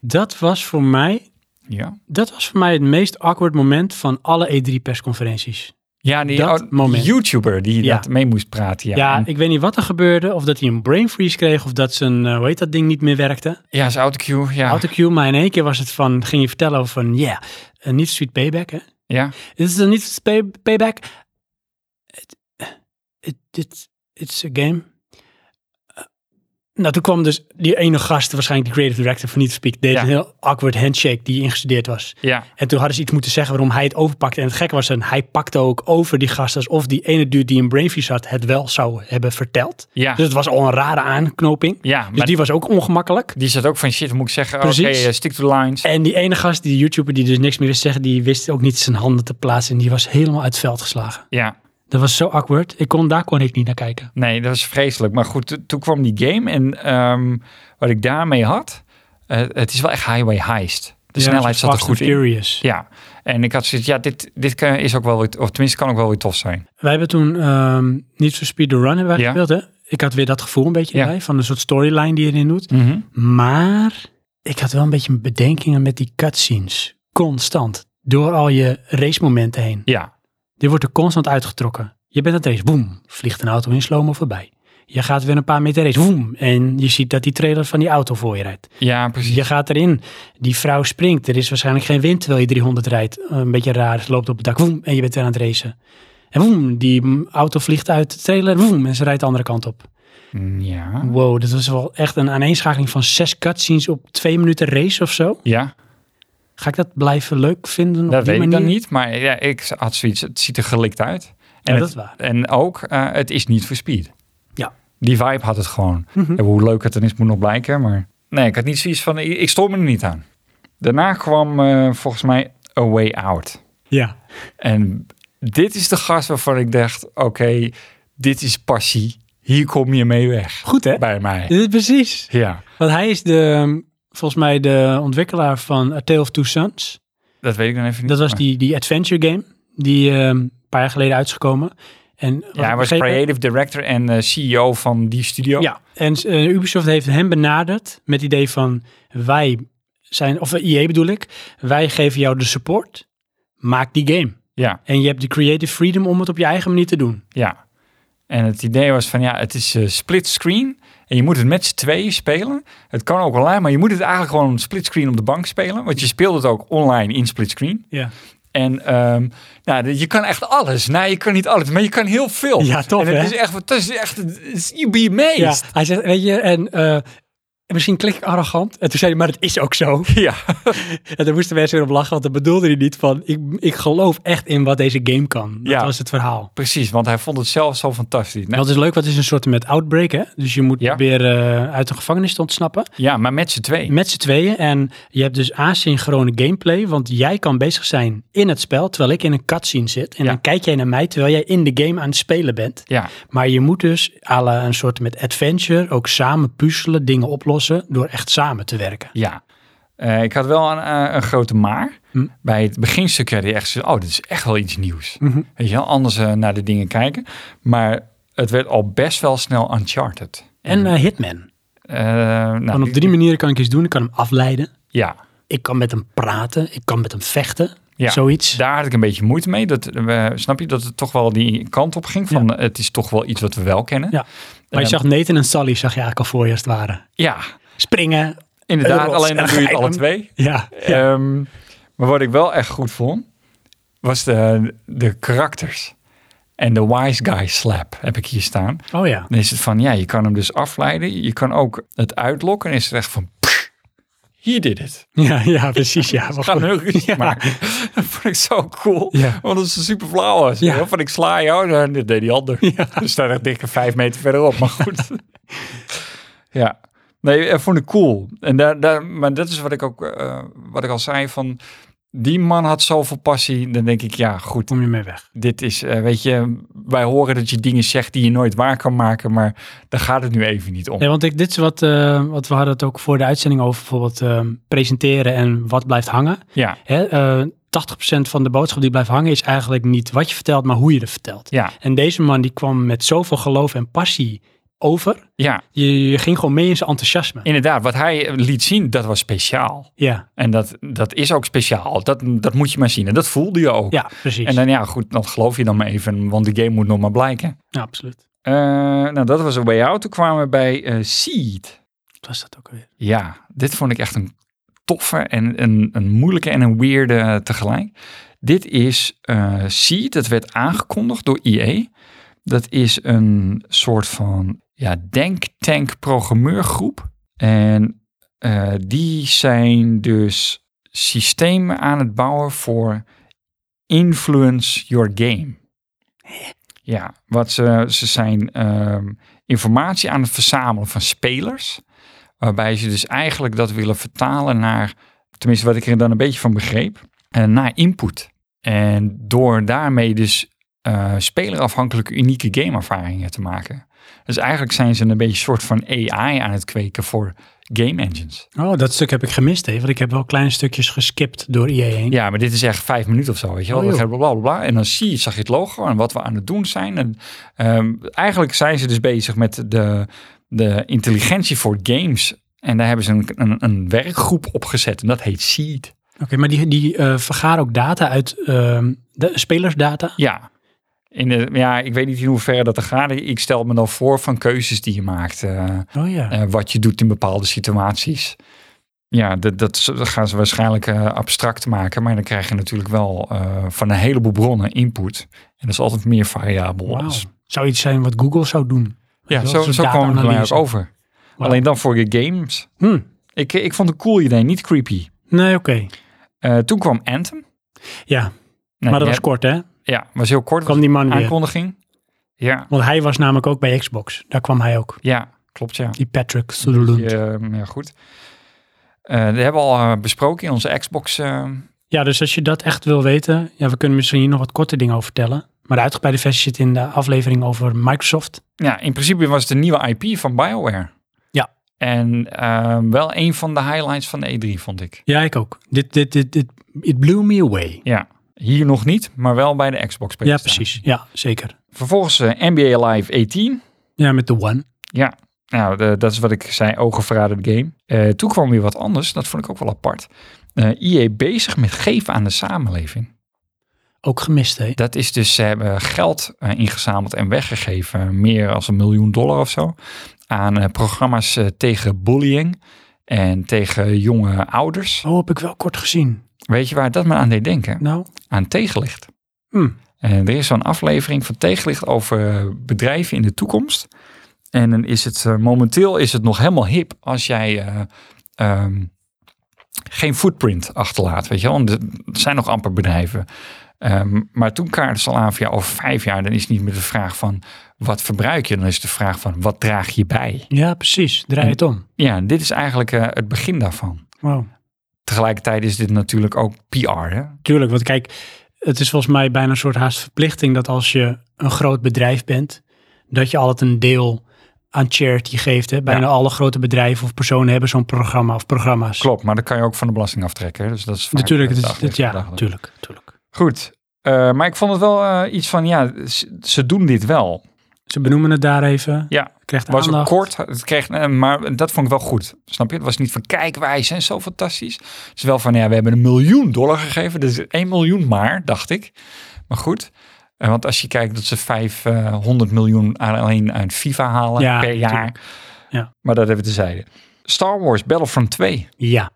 Dat was voor mij, Ja. dat was voor mij het meest awkward moment van alle E E3-persconferenties. Ja, die, Dat oh, moment. YouTuber die Ja. dat mee moest praten. Ja, Ja, En- ik weet niet wat er gebeurde. Of dat hij een brain freeze kreeg. Of dat zijn, eh, hoe heet dat ding, niet meer werkte. ja zijn autocue. Ja. autocue, maar in één keer was het van, ging je vertellen over van, ja, yeah, eh, niet sweet payback, hè? ja. Dit is een niet sweet pay- payback. eh, It, it, it, it's a game. Nou, toen kwam dus die ene gast, waarschijnlijk de creative director van Need for Speak, deed Ja. een heel awkward handshake die ingestudeerd was. Ja, En toen hadden ze iets moeten zeggen waarom hij het overpakte. En het gekke was, dan, hij pakte ook over die gast alsof die ene dude die een brainfreeze had, het wel zou hebben verteld. ja, Dus het was al een rare aanknoping. ja. Dus Maar die, die was ook ongemakkelijk. zat ook van shit, moet ik zeggen, oké, Precies. eh, stick to the lines. En die ene gast, die YouTuber die dus niks meer wist te zeggen, die wist ook niet zijn handen te plaatsen. En die was helemaal uit het veld geslagen. Ja, Dat was zo awkward. Ik kon, daar kon ik niet naar kijken. nee, dat is vreselijk. Maar goed, to- toen kwam die game en ehm, wat ik daarmee had, eh, het is wel echt highway heist. De Ja, snelheid zoals zat er Fast and goed in. Furious. Ja, en ik had zoiets, ja, dit, dit kan- is ook wel weer, of tenminste kan ook wel weer tof zijn. Wij hebben toen ehm niet voor Speed the Run hebben wij Ja. gespeeld, hè? Ik had weer dat gevoel een beetje Ja. erbij, van een soort storyline die je erin doet. Maar ik had wel een beetje bedenkingen met die cutscenes. Constant. Door al je racemomenten heen. Ja, Dit wordt er constant uitgetrokken. Je bent aan het race, boem. Vliegt een auto in slow-mo voorbij. Je gaat weer een paar meter race, boem. En je ziet dat die trailer van die auto voor je rijdt. ja, precies. Je gaat erin. Die vrouw springt. Er is waarschijnlijk geen wind terwijl je 300 rijdt. Een beetje raar. Ze loopt op het dak. Woem, en je bent weer aan het racen. En woem, die mm, auto vliegt uit de trailer. Woem, en ze rijdt de andere kant op. Ja, Wow, dat was wel echt een aaneenschakeling van zes cutscenes op twee minuten race of zo. ja Ga ik dat blijven leuk vinden? dat op die weet ik manier? dan niet, maar ja, ik had zoiets, het ziet er gelikt uit. Ja, En, dat het, is waar. en ook, eh, het is niet voor speed. Ja. Die vibe had het gewoon. Mhm. En hoe leuk het dan is, moet nog blijken, maar nee, ik had niet zoiets van, ik, ik stoor me er niet aan. Daarna kwam eh, volgens mij A Way Out. Ja. En dit is de gast waarvan ik dacht, oké, dit is passie. Hier kom je mee weg. Goed hè? Bij mij. Dit is precies. Ja. Want hij is de, mm, volgens mij de ontwikkelaar van A Tale of Two Sons. Dat weet ik dan even niet. Dat was Maar- die, die adventure game die ehm, een paar jaar geleden uitgekomen. En wat Ja, hij ik was begrepen- creative director en eh, CEO van die studio. Ja, en eh, Ubisoft heeft hem benaderd met het idee van wij zijn, of IE bedoel ik, wij geven jou de support, maak die game. Ja, En je hebt de creative freedom om het op je eigen manier te doen. ja. En het idee was van, ja, het is eh, split screen. En je moet het met z'n tweeën spelen. Het kan ook online, maar je moet het eigenlijk gewoon split screen op de bank spelen. Want je speelt het ook online in split screen. Ja, En ehm, nou, de- je kan echt alles. Nou, je kan niet alles, maar je kan heel veel. Ja, tof, En het hè? is echt, het is echt, het is- you be amazed. hij zegt, weet je, en eh, misschien klik ik arrogant. En toen zei hij, maar het is ook zo. Ja, En daar moesten mensen weer op lachen, want dat bedoelde hij niet van, ik, ik geloof echt in wat deze game kan. Dat Ja. was het verhaal. precies. Want hij vond het zelf zo fantastisch. Nou, Dat is leuk, wat is een soort met outbreak, hè? Dus je moet Ja. proberen eh, uit de gevangenis te ontsnappen. ja, maar met z'n tweeën. Met z'n tweeën. En je hebt dus asynchrone gameplay. Want jij kan bezig zijn in het spel terwijl ik in een cutscene zit. En Ja. dan kijk jij naar mij terwijl jij in de game aan het spelen bent. Ja, Maar je moet dus à la een soort met adventure ook samen puzzelen, dingen oplossen. Door echt samen te werken. Ja. Eh, ik had wel een, eh, een grote maar. Hm. Bij het beginstuk had je echt zo, oh, dit is echt wel iets nieuws. Weet je wel, anders eh, naar de dingen kijken. Maar het werd al best wel snel Uncharted. En eh, Hitman. Eh, nou, Want op drie manieren kan ik iets doen. Ik kan hem afleiden. Ja, Ik kan met hem praten. Ik kan met hem vechten. Ja. Zoiets. daar had ik een beetje moeite mee. Dat, eh, snap je, dat het toch wel die kant op ging van, eh, het is toch wel iets wat we wel kennen. Ja. Maar je Ehm, zag Nathan en Sally zag je eigenlijk al voor je als het ware. Ja, Springen. inderdaad. Rots alleen dan en doe je het alle grijpen. twee. Ja. ja. Ehm, maar wat ik wel echt goed vond, was de, de karakters. En de wise guy slap heb ik hier staan. Oh ja. Dan is het van, ja, je kan hem dus afleiden. Je kan ook het uitlokken. En is het echt van, hier dit het. Ja, ja precies. Ja. Wat Ga goed. hem heel rustig Ja. maken. Dat vond ik zo cool. Ja. Want het is super flauw was. Ja. Van, ik sla jou. En dat deed die ander. Ja. Dus daar echt dikke vijf meter verderop. Maar goed. ja. Nee, dat vond ik cool. En daar, daar, maar dat is wat ik ook, eh, wat ik al zei van... Die man had zoveel passie. Dan denk ik, ja, goed Kom je mee weg. dit is, eh, weet je, wij horen dat je dingen zegt die je nooit waar kan maken, maar daar gaat het nu even niet om. Nee, want ik, dit is wat, eh, wat we hadden het ook voor de uitzending over bijvoorbeeld eh, presenteren en wat blijft hangen. Ja, Hè, eh, 80% van de boodschap die blijft hangen is eigenlijk niet wat je vertelt, maar hoe je het vertelt. ja, En deze man die kwam met zoveel geloof en passie over. ja. Je, je ging gewoon mee in zijn enthousiasme. Inderdaad, wat hij liet zien, dat was speciaal. Ja, En dat, dat is ook speciaal. Dat, dat moet je maar zien. En dat voelde je ook. ja precies. En dan, ja, goed, dat geloof je dan maar even, want de game moet nog maar blijken. ja, absoluut. Eh, nou, dat was een way out. Toen kwamen we bij eh, Seed. Wat was dat ook weer? Ja, dit vond ik echt een toffe en een, een moeilijke en een eh, weirde tegelijk. Dit is eh Seed, dat werd aangekondigd door EA. Dat is een soort van ja, denktank programmeurgroep. En eh, die zijn dus systemen aan het bouwen voor influence your game. Ja, wat ze, ze zijn ehm, informatie aan het verzamelen van spelers. Waarbij ze dus eigenlijk dat willen vertalen naar, tenminste wat ik er dan een beetje van begreep, eh, naar input. En door daarmee dus eh, spelerafhankelijke unieke gameervaringen te maken. Dus eigenlijk zijn ze een beetje een soort van AI aan het kweken voor game engines. Oh, dat stuk heb ik gemist even. Want ik heb wel kleine stukjes geskipt door IE heen. Ja, maar dit is echt vijf minuten of zo, weet je wel. Oh, joh. bla, bla, bla, bla. En dan zie je, zag je het logo en wat we aan het doen zijn. En, ehm, eigenlijk zijn ze dus bezig met de, de intelligentie voor games. En daar hebben ze een, een, een werkgroep opgezet en dat heet Seed. Oké, maar die, die eh vergaren ook data uit ehm, de spelersdata. Ja. In de, ja, ik weet niet in hoeverre dat er gaat. Ik stel me dan voor van keuzes die je maakt. eh, Oh ja. eh, wat je doet in bepaalde situaties. Ja, dat, dat z- dat gaan ze waarschijnlijk eh, abstract maken. Maar dan krijg je natuurlijk wel eh, van een heleboel bronnen input. En dat is altijd meer variabel. Wauw. als- Zou iets zijn wat Google zou doen? ja, Wel, zo, zo'n zo kwam het er mij ook data-analyse. over. Wauw. Alleen dan voor je games. Hm. Ik, ik vond het een cool idee, niet creepy. Nee, oké. Eh, toen kwam Anthem. Ja, Nee, maar dat ja, was kort hè? Ja, was heel kort. Kwam die man weer. aankondiging. Ja, Want hij was namelijk ook bij Xbox. Daar kwam hij ook. ja, klopt ja. Die Patrick Sutherland. Die, eh, ja, goed. Eh die hebben we al eh, besproken in onze Xbox eh, Ja, dus als je dat echt wil weten, ja, we kunnen misschien hier nog wat korte dingen over vertellen. Maar de uitgebreide versie zit in de aflevering over Microsoft. Ja, in principe was het een nieuwe IP van BioWare. Ja. En eh, wel een van de highlights van de E3, vond ik. Ja, ik ook. Dit, dit, dit, dit it blew me away. Ja, hier nog niet, maar wel bij de Xbox. Ja, presentatie. precies. Ja, zeker. Vervolgens eh, NBA Live 18. Ja, met de One. Ja, nou, de- dat is wat ik zei, ogen verraden game. Eh, toen kwam weer wat anders, dat vond ik ook wel apart. Eh EA bezig met geven aan de samenleving. Ook gemist, hè? Dat is dus, ze hebben geld eh, ingezameld en weggegeven, meer dan een miljoen dollar of zo, aan eh, programma's eh, tegen bullying en tegen jonge ouders. Oh, heb ik wel kort gezien. Weet je waar dat me aan deed denken? Nou, Aan tegenlicht. Hmm. En er is zo'n aflevering van tegenlicht over eh, bedrijven in de toekomst. En dan is het eh, momenteel is het nog helemaal hip als jij eh, ehm, geen footprint achterlaat. Weet je wel? Want er zijn nog amper bedrijven. Ehm, maar toen kaarten ze al aan van ja, over vijf jaar, dan is het niet meer de vraag van wat verbruik je, dan is het de vraag van wat draag je bij. ja, precies. Draai En- het om. Ja, dit is eigenlijk eh, het begin daarvan. Wow. Tegelijkertijd is dit natuurlijk ook PR. Hè? Tuurlijk, want kijk, het is volgens mij bijna een soort haast verplichting dat als je een groot bedrijf bent, dat je altijd een deel aan charity geeft. Hè? Bijna Ja. alle grote bedrijven of personen hebben zo'n programma of programma's. Klopt, maar dat kan je ook van de belasting aftrekken. hè. Dus dat is vaak Natuurlijk, de het is, dagelijkse het- ja, dagelijkse. natuurlijk, natuurlijk. Goed, Eh, maar ik vond het wel eh, iets van, ja, ze, ze doen dit wel. Ze benoemen het daar even. Ja, Krijgt was ook aandacht. kort, het kreeg, eh, maar dat vond ik wel goed. Snap je? Het was niet van kijkwijs en zo fantastisch. Het is wel van, ja, we hebben een miljoen dollar gegeven. Dus 1 miljoen maar, dacht ik. Maar goed, eh, want als je kijkt dat ze 500 miljoen aan- alleen uit FIFA halen Ja, per jaar. natuurlijk. Ja. Maar dat hebben we tezijde. Star Wars Battlefront 2. Ja.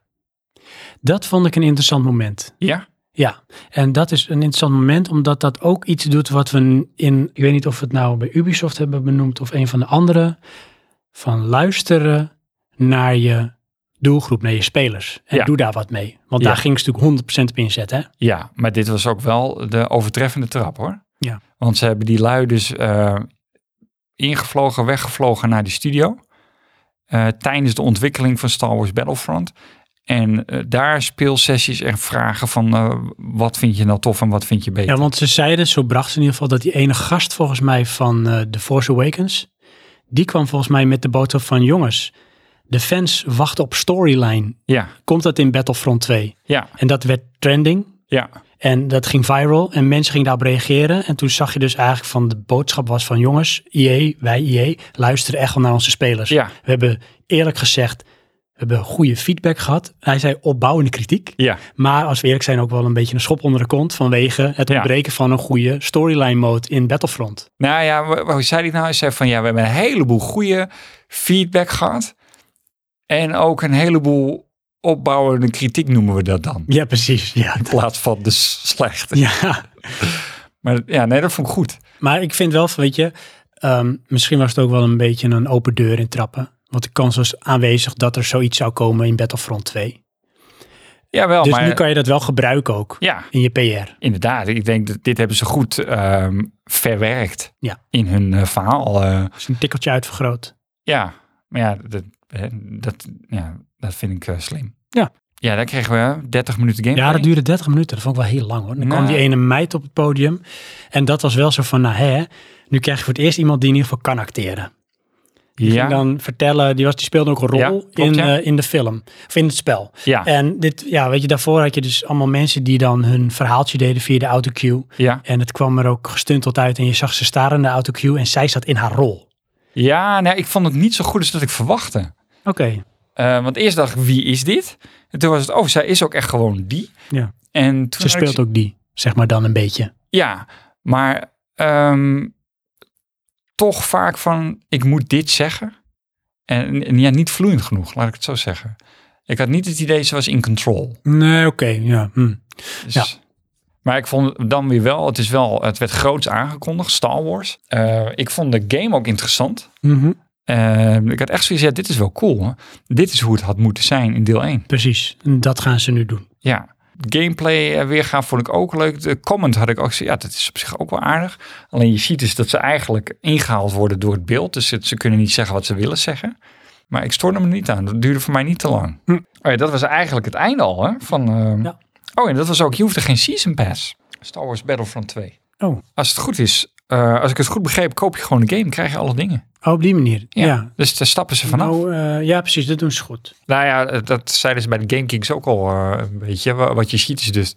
Dat vond ik een interessant moment. Ja, Ja, en dat is een interessant moment, omdat dat ook iets doet wat we in, ik weet niet of we het nou bij Ubisoft hebben benoemd of een van de andere, van luisteren naar je doelgroep, naar je spelers. En Ja. doe daar wat mee. Want Ja. daar ging ze natuurlijk 100% op inzetten. Hè? Ja, maar dit was ook wel de overtreffende trap hoor. Ja. Want ze hebben die lui dus eh, ingevlogen, weggevlogen naar die studio. eh, tijdens de ontwikkeling van Star Wars Battlefront. En eh, daar speelsessies en vragen van eh, wat vind je nou tof en wat vind je beter. Ja, want ze zeiden, zo bracht ze in ieder geval, dat die ene gast volgens mij van eh The Force Awakens, die kwam volgens mij met de boodschap van jongens, de fans wachten op storyline. Ja, Komt dat in Battlefront 2? ja, En dat werd trending. ja, En dat ging viral en mensen gingen daarop reageren. En toen zag je dus eigenlijk van de boodschap was van jongens, IE, wij IE, luisteren echt wel naar onze spelers. ja, We hebben eerlijk gezegd, we hebben goede feedback gehad. Hij zei opbouwende kritiek. ja, Maar als we eerlijk zijn ook wel een beetje een schop onder de kont vanwege het Ja. ontbreken van een goede storyline mode in Battlefront. Nou ja, wa- wa- hoe zei hij nou? Hij zei van ja, we hebben een heleboel goede feedback gehad. En ook een heleboel opbouwende kritiek noemen we dat dan. Ja, precies. Ja, In plaats van de s- slechte. ja. Maar ja, nee, dat vond ik goed. Maar ik vind wel, van, weet je, ehm, misschien was het ook wel een beetje een open deur in trappen. Want de kans was aanwezig dat er zoiets zou komen in Battlefront 2. Jawel, dus Oh, maar nu kan je dat wel gebruiken ook ja, in je PR. inderdaad. Ik denk dat dit hebben ze goed ehm, verwerkt Ja. in hun eh, verhaal. eh. Dus een tikkeltje uitvergroot. ja, maar ja dat, eh, dat, ja, dat vind ik eh, slim. Ja. Ja, daar kregen we 30 minuten gameplay. Ja, dat duurde 30 minuten. Dat vond ik wel heel lang hoor. Dan kwam Nou. die ene meid op het podium. En dat was wel zo van, nou hè, nu krijg je voor het eerst iemand die in ieder geval kan acteren. Die Ja, ging dan vertellen, die, was, die speelde ook een rol Ja, klopt, in, ja. eh, in de film. Of in het spel. ja, En dit, ja, weet je, daarvoor had je dus allemaal mensen die dan hun verhaaltje deden via de autocue. ja. En het kwam er ook gestunteld uit en je zag ze staren in de autocue en zij zat in haar rol. ja nou, ik vond het niet zo goed als dat ik verwachtte. Oké, Eh, want eerst dacht ik, wie is dit? En toen was het, oh, zij is ook echt gewoon die. Ja. En toen ze had ik speelt ook die, zeg maar dan een beetje. Ja, maar ehm, toch vaak van ik moet dit zeggen. En, en ja, niet vloeiend genoeg, laat ik het zo zeggen. Ik had niet het idee ze was in control. Nee, oké, ja. hm. Dus- Ja. Maar ik vond het dan weer wel, het is wel, het werd groots aangekondigd, Star Wars. Eh, ik vond de game ook interessant. Mhm, Eh, ik had echt zoiets, ja, dit is wel cool. Hè? Dit is hoe het had moeten zijn in deel 1. Precies, En dat gaan ze nu doen. Ja. Gameplay weergaan vond ik ook leuk. De comment had ik ook. zo- Ja, dat is op zich ook wel aardig. Alleen je ziet dus dat ze eigenlijk ingehaald worden door het beeld. Dus het- ze kunnen niet zeggen wat ze willen zeggen. Maar ik stoorde me er niet aan. Dat duurde voor mij niet te lang. Hm. Oh ja, dat was eigenlijk het einde al. Hè? Van, ehm, Ja. Oh, en dat was ook. Je hoefde geen Season Pass. Star Wars Battlefront 2. Oh. Als het goed is, eh, als ik het goed begreep, koop je gewoon de game. Krijg je alle dingen. Oh, op die manier, ja. Ja. Dus daar stappen ze vanaf. Nou, eh, ja, precies, dat doen ze goed. Nou ja, dat zeiden ze bij de Game Kings ook al eh, een beetje. Wa- Wat je ziet is dus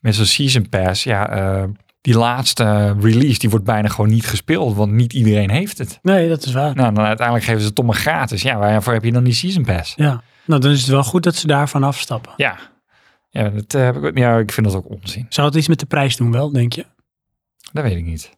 met zo'n Season Pass, ja, eh, die laatste release, die wordt bijna gewoon niet gespeeld, want niet iedereen heeft het. Nee, dat is waar. Nou, dan uiteindelijk geven ze het toch maar gratis. Ja, waarvoor heb je dan die Season Pass? Ja, nou dan is het wel goed dat ze daarvan afstappen. Ja, ja, dat, eh, heb ik, ook- ja ik vind dat ook onzin. Zou het iets met de prijs doen wel, denk je? Dat weet ik niet.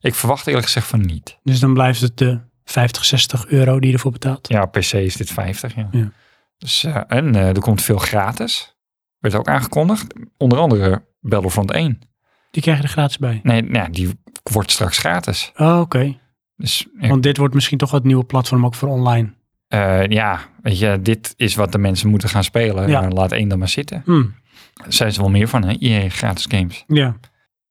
Ik verwacht eerlijk gezegd van niet. Dus dan blijft het de 50, 60 euro die je ervoor betaalt. Ja, per se is dit 50, ja. Ja. Dus, eh, en eh, er komt veel gratis. Werd ook aangekondigd. Onder andere Battlefront 1. Die krijg je er gratis bij. Nee, nou, ja, die wordt straks gratis. Oh, oké. Dus eh, Want dit wordt misschien toch wat nieuwe platform ook voor online. eh, ja, weet je, dit is wat de mensen moeten gaan spelen. Ja. Eh, laat één dan maar zitten. Hm, Daar zijn ze wel meer van, hè? EA gratis games. ja.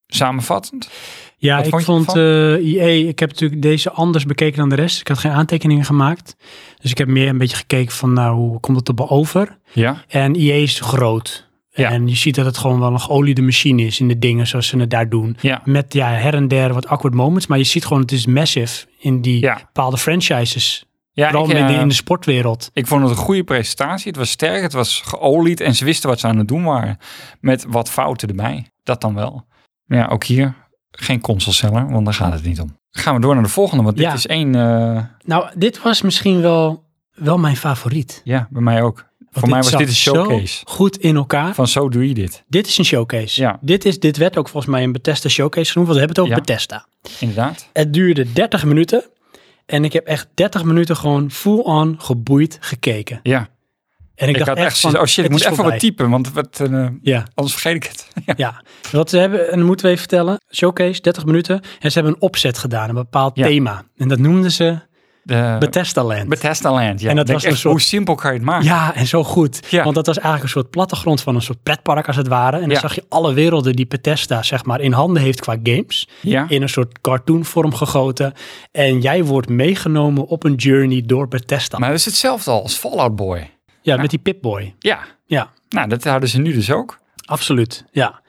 Samenvattend? Ja, Wat ik vond je vond ervan? eh IE, ik heb natuurlijk deze anders bekeken dan de rest. Ik had geen aantekeningen gemaakt. Dus ik heb meer een beetje gekeken van, nou, hoe komt het op over? Ja. En IE is groot. Ja. En je ziet dat het gewoon wel een geoliede machine is in de dingen zoals ze het daar doen. Ja. Met ja, her en der wat awkward moments. Maar je ziet gewoon, het is massive in die Ja. bepaalde franchises. Ja, Vooral ik, in, de, eh, in de sportwereld. ik vond het een goede presentatie. Het was sterk, het was geolied en ze wisten wat ze aan het doen waren. Met wat fouten erbij. Dat dan wel. Ja, ook hier geen consoleseller, want daar gaat het niet om. Gaan we door naar de volgende, want dit Ja. is één, eh, Nou, dit was misschien wel, wel mijn favoriet. ja, bij mij ook. Want Voor mij was zat dit een showcase. Zo goed in elkaar. Van zo doe je dit. Dit is een showcase. Ja. Dit, is, dit werd ook volgens mij een Bethesda showcase genoemd, want we hebben het over Ja. Bethesda. Inderdaad. Het duurde 30 minuten en ik heb echt 30 minuten gewoon full-on geboeid gekeken. Ja. En ik, Ik, dacht had echt echt van, zoiets, oh shit, het ik moet is even voorbij. wat typen, want wat, eh, Ja, anders vergeet ik het. ja. ja. Wat ze hebben, en dat moeten we even vertellen, showcase, 30 minuten. En ze hebben een opzet gedaan, een bepaald Ja. thema. En dat noemden ze De, Bethesda Land. Bethesda Land, ja. En dat Denk was echt, een soort- Hoe simpel kan je het maken? Ja, en zo goed. Ja. Want dat was eigenlijk een soort plattegrond van een soort pretpark als het ware. En dan Ja. zag je alle werelden die Bethesda zeg maar in handen heeft qua games. Ja. In een soort cartoonvorm gegoten. En jij wordt meegenomen op een journey door Bethesda. Maar dat is hetzelfde al als Fallout Boy. ja, met die Pip-Boy. Ja. Ja, Nou, dat houden ze nu dus ook. absoluut. Ja.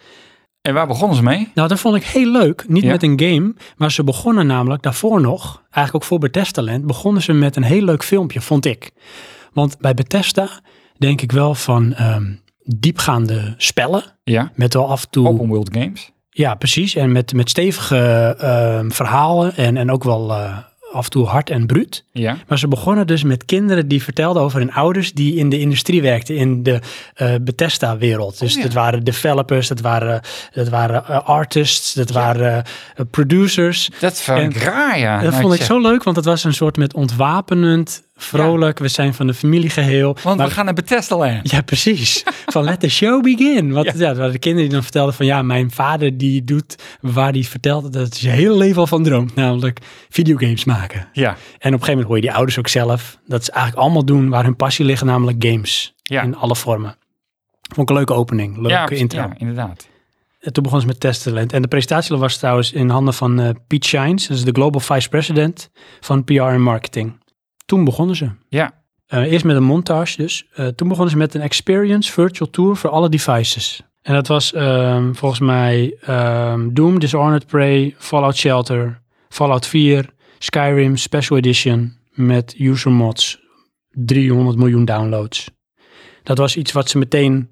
En waar begonnen ze mee? Nou, dat vond ik heel leuk. Niet Ja. met een game, maar ze begonnen namelijk daarvoor nog, eigenlijk ook voor Bethesda Land, begonnen ze met een heel leuk filmpje, vond ik. Want bij Bethesda denk ik wel van ehm, diepgaande spellen. Ja. Met wel af en toe Open World Games. Ja, precies. En met, met stevige ehm, verhalen en, en ook wel eh, af en toe hard en bruut. Ja. Maar ze begonnen dus met kinderen die vertelden over hun ouders die in de industrie werkten, in de eh Bethesda-wereld. Dus Oh, ja. dat waren developers, dat waren, dat waren eh, artists, dat waren eh, producers. Dat vond En- ik raar, ja. Dat Nou, vond ik zeg, zo leuk, want dat was een soort met ontwapenend vrolijk, we zijn van de familie geheel. Want Maar- we gaan naar Bethesda Land. Ja, precies. Van let the show begin. Want Ja. ja. er waren de kinderen die dan vertelden van ja, mijn vader die doet waar hij vertelt dat hij zijn hele leven al van droomt. Namelijk videogames maken. Ja, En op een gegeven moment hoor je die ouders ook zelf. Dat ze eigenlijk allemaal doen waar hun passie ligt, namelijk games. Ja. In alle vormen. Vond ik een leuke opening, leuke ja, intro. ja, inderdaad. En toen begon ze met Testament. En de presentatie was trouwens in handen van eh, Pete Shines. Dat is de Global Vice President van PR en Marketing. Toen begonnen ze. Ja, Eh, eerst met een montage dus. Eh, toen begonnen ze met een Experience Virtual Tour voor alle devices. En dat was ehm, volgens mij ehm, Doom, Dishonored Prey, Fallout Shelter, Fallout 4, Skyrim Special Edition met user mods. 300 miljoen downloads. Dat was iets wat ze meteen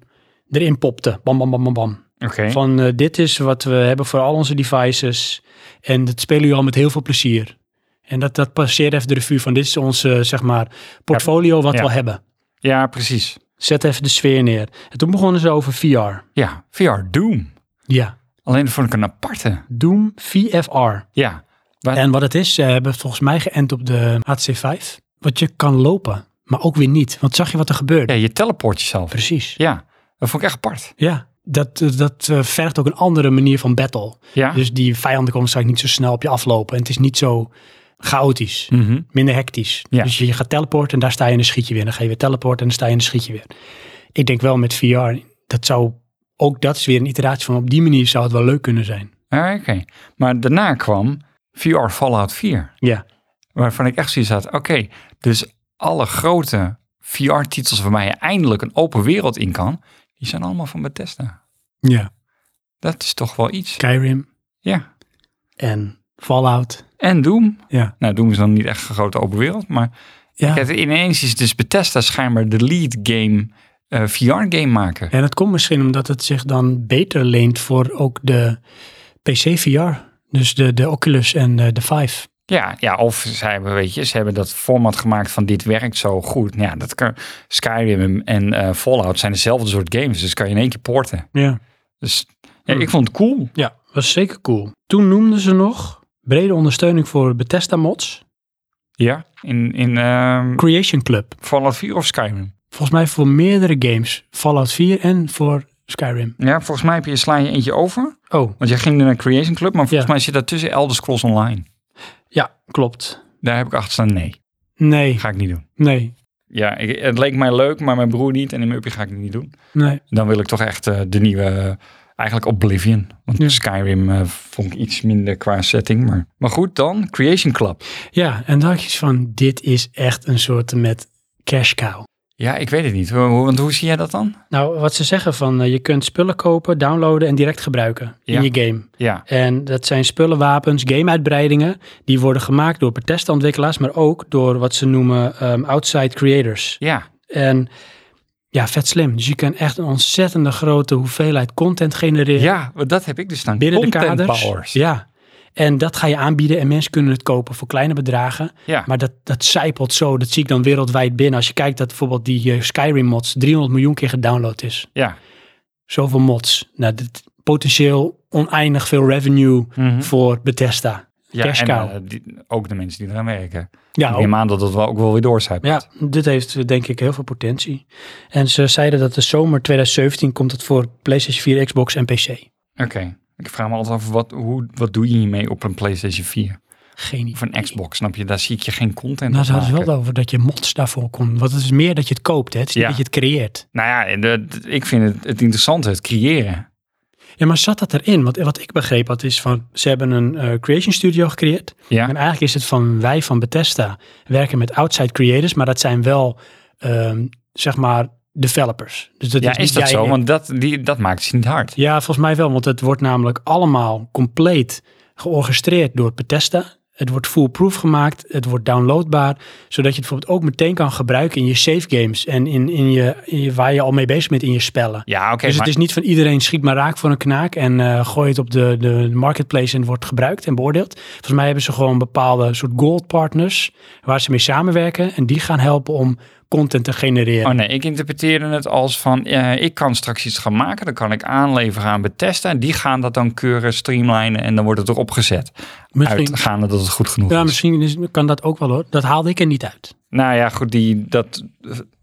erin popte. Bam, bam, bam, bam, bam. oké. Van eh, dit is wat we hebben voor al onze devices. En dat spelen jullie al met heel veel plezier. En dat, dat passeert even de revue van dit is ons eh, zeg maar, portfolio wat Ja. we al hebben. Ja, precies. Zet even de sfeer neer. En toen begonnen ze over VR. Ja, VR Doom. Ja, Alleen dat vond ik een aparte. Doom VFR. Ja, Ja. En wat het is, ze hebben het volgens mij geënt op de HC5. Want je kan lopen, maar ook weer niet. Want zag je wat er gebeurde? ja je teleport jezelf. Precies. Ja, dat vond ik echt apart. Ja, dat, eh, dat eh, vergt ook een andere manier van battle. Ja. Dus die vijanden komen straks niet zo snel op je aflopen. En het is niet zo chaotisch, Mhm. minder hectisch. Ja. Dus je gaat teleporten en daar sta je en dan schiet je weer. Dan ga je weer teleporten en dan sta je en dan schiet je weer. Ik denk wel met VR, dat zou ook dat is weer een iteratie van op die manier zou het wel leuk kunnen zijn. Ah, Oké. Maar daarna kwam VR Fallout 4. Ja, Waarvan ik echt zoiets had. Oké, dus alle grote VR-titels waarmee je eindelijk een open wereld in kan. Die zijn allemaal van Bethesda. ja. Dat is toch wel iets. Skyrim Ja. en Fallout. En Doom. Ja, Nou, Doom is dan niet echt een grote open wereld. Maar ja. kijk, ineens is dus Bethesda schijnbaar de lead game eh, VR-game maken. En dat komt misschien omdat het zich dan beter leent voor ook de PC VR. Dus de, de Oculus en de, de Vive. Ja, ja, of ze hebben, weet je, ze hebben dat format gemaakt van dit werkt zo goed. Nou ja, dat kan, Skyrim en eh, Fallout zijn dezelfde soort games, dus kan je in één keer porten. Ja. Dus ja, ik vond het cool. Ja, was zeker cool. Toen noemden ze nog brede ondersteuning voor Bethesda mods, Ja, in, in ehm, Creation Club. Fallout 4 of Skyrim. Volgens mij voor meerdere games, Fallout 4 en voor Skyrim. Ja, volgens mij heb je, sla je eentje over, Oh, want jij ging naar Creation Club, maar volgens Ja. mij zit daar tussen Elder Scrolls Online. ja, klopt. Daar heb ik achter staan, nee, Nee, ga ik niet doen. nee, Ja, ik, het leek mij leuk, maar mijn broer niet en in mijn uppie ga ik het niet doen. nee. Dan wil ik toch echt eh, de nieuwe, eh, eigenlijk Oblivion. Want Ja. Skyrim eh, vond ik iets minder qua setting. Maar, maar goed, dan Creation Club. Ja, en dacht je van, dit is echt een soort met cash cow. Ja, ik weet het niet. Hoe- hoe- Want hoe zie jij dat dan? Nou, wat ze zeggen van, eh, je kunt spullen kopen, downloaden en direct gebruiken Ja. in je game. Ja, En dat zijn spullen, wapens, game-uitbreidingen. Die worden gemaakt door Bethesda-ontwikkelaars, maar ook door wat ze noemen ehm, outside creators. ja, En ja, vet slim. Dus je kan echt een ontzettende grote hoeveelheid content genereren ja. want Dat heb ik dus dan. binnen de Content kaders. powers. Ja. Ja. En dat ga je aanbieden en mensen kunnen het kopen voor kleine bedragen. Maar dat, dat zijpelt zo, dat zie ik dan wereldwijd binnen. Als je kijkt dat bijvoorbeeld die eh, Skyrim mods 300 miljoen keer gedownload is. ja. Zoveel mods. Nou, dit, potentieel oneindig veel revenue Mhm. voor Bethesda. ja cash en cow. eh, die- ook de mensen die eraan werken. Ja, Ik ook- neem aan dat dat wel ook wel weer doorzuipt. Ja, dit heeft eh, denk ik heel veel potentie. En ze zeiden dat de zomer 2017 komt het voor PlayStation 4, Xbox en PC. Oké. Ik vraag me altijd af, wat, hoe, wat doe je hiermee op een PlayStation 4? Geen idee. Of een Xbox, snap je? Daar zie ik je geen content Nou, op ze hadden het maken. wel over dat je mods daarvoor kon. Want het is meer dat je het koopt, hè? Het is niet Ja. dat je het creëert. Nou ja, de- de- ik vind het, het interessante, het creëren. Ja, maar zat dat erin? Want wat ik begreep had is van, ze hebben een eh, creation studio gecreëerd. Ja. En eigenlijk is het van wij van Bethesda werken met outside creators, maar dat zijn wel, ehm, zeg maar, developers. Dus dat Ja, is, niet is dat jij zo? en- Want dat, die, dat maakt ze niet hard. Ja, volgens mij wel, want het wordt namelijk allemaal compleet georchestreerd door Bethesda. Het wordt foolproof gemaakt, het wordt downloadbaar, zodat je het bijvoorbeeld ook meteen kan gebruiken in je save games en in, in je, in je- waar je al mee bezig bent in je spellen. Ja, oké. dus maar, het is niet van iedereen schiet maar raak voor een knaak en eh, gooi het op de, de marketplace en wordt gebruikt en beoordeeld. Volgens mij hebben ze gewoon bepaalde soort gold partners waar ze mee samenwerken en die gaan helpen om content te genereren. Oh nee, ik interpreteerde het als van, eh, ik kan straks iets gaan maken, dan kan ik aanleveren aan Bethesda. En die gaan dat dan keuren, streamlinen en dan wordt het erop gezet. misschien, Uitgaande dat het goed genoeg ja, is. misschien is- kan dat ook wel hoor. Dat haalde ik er niet uit. Nou ja, goed, die, dat,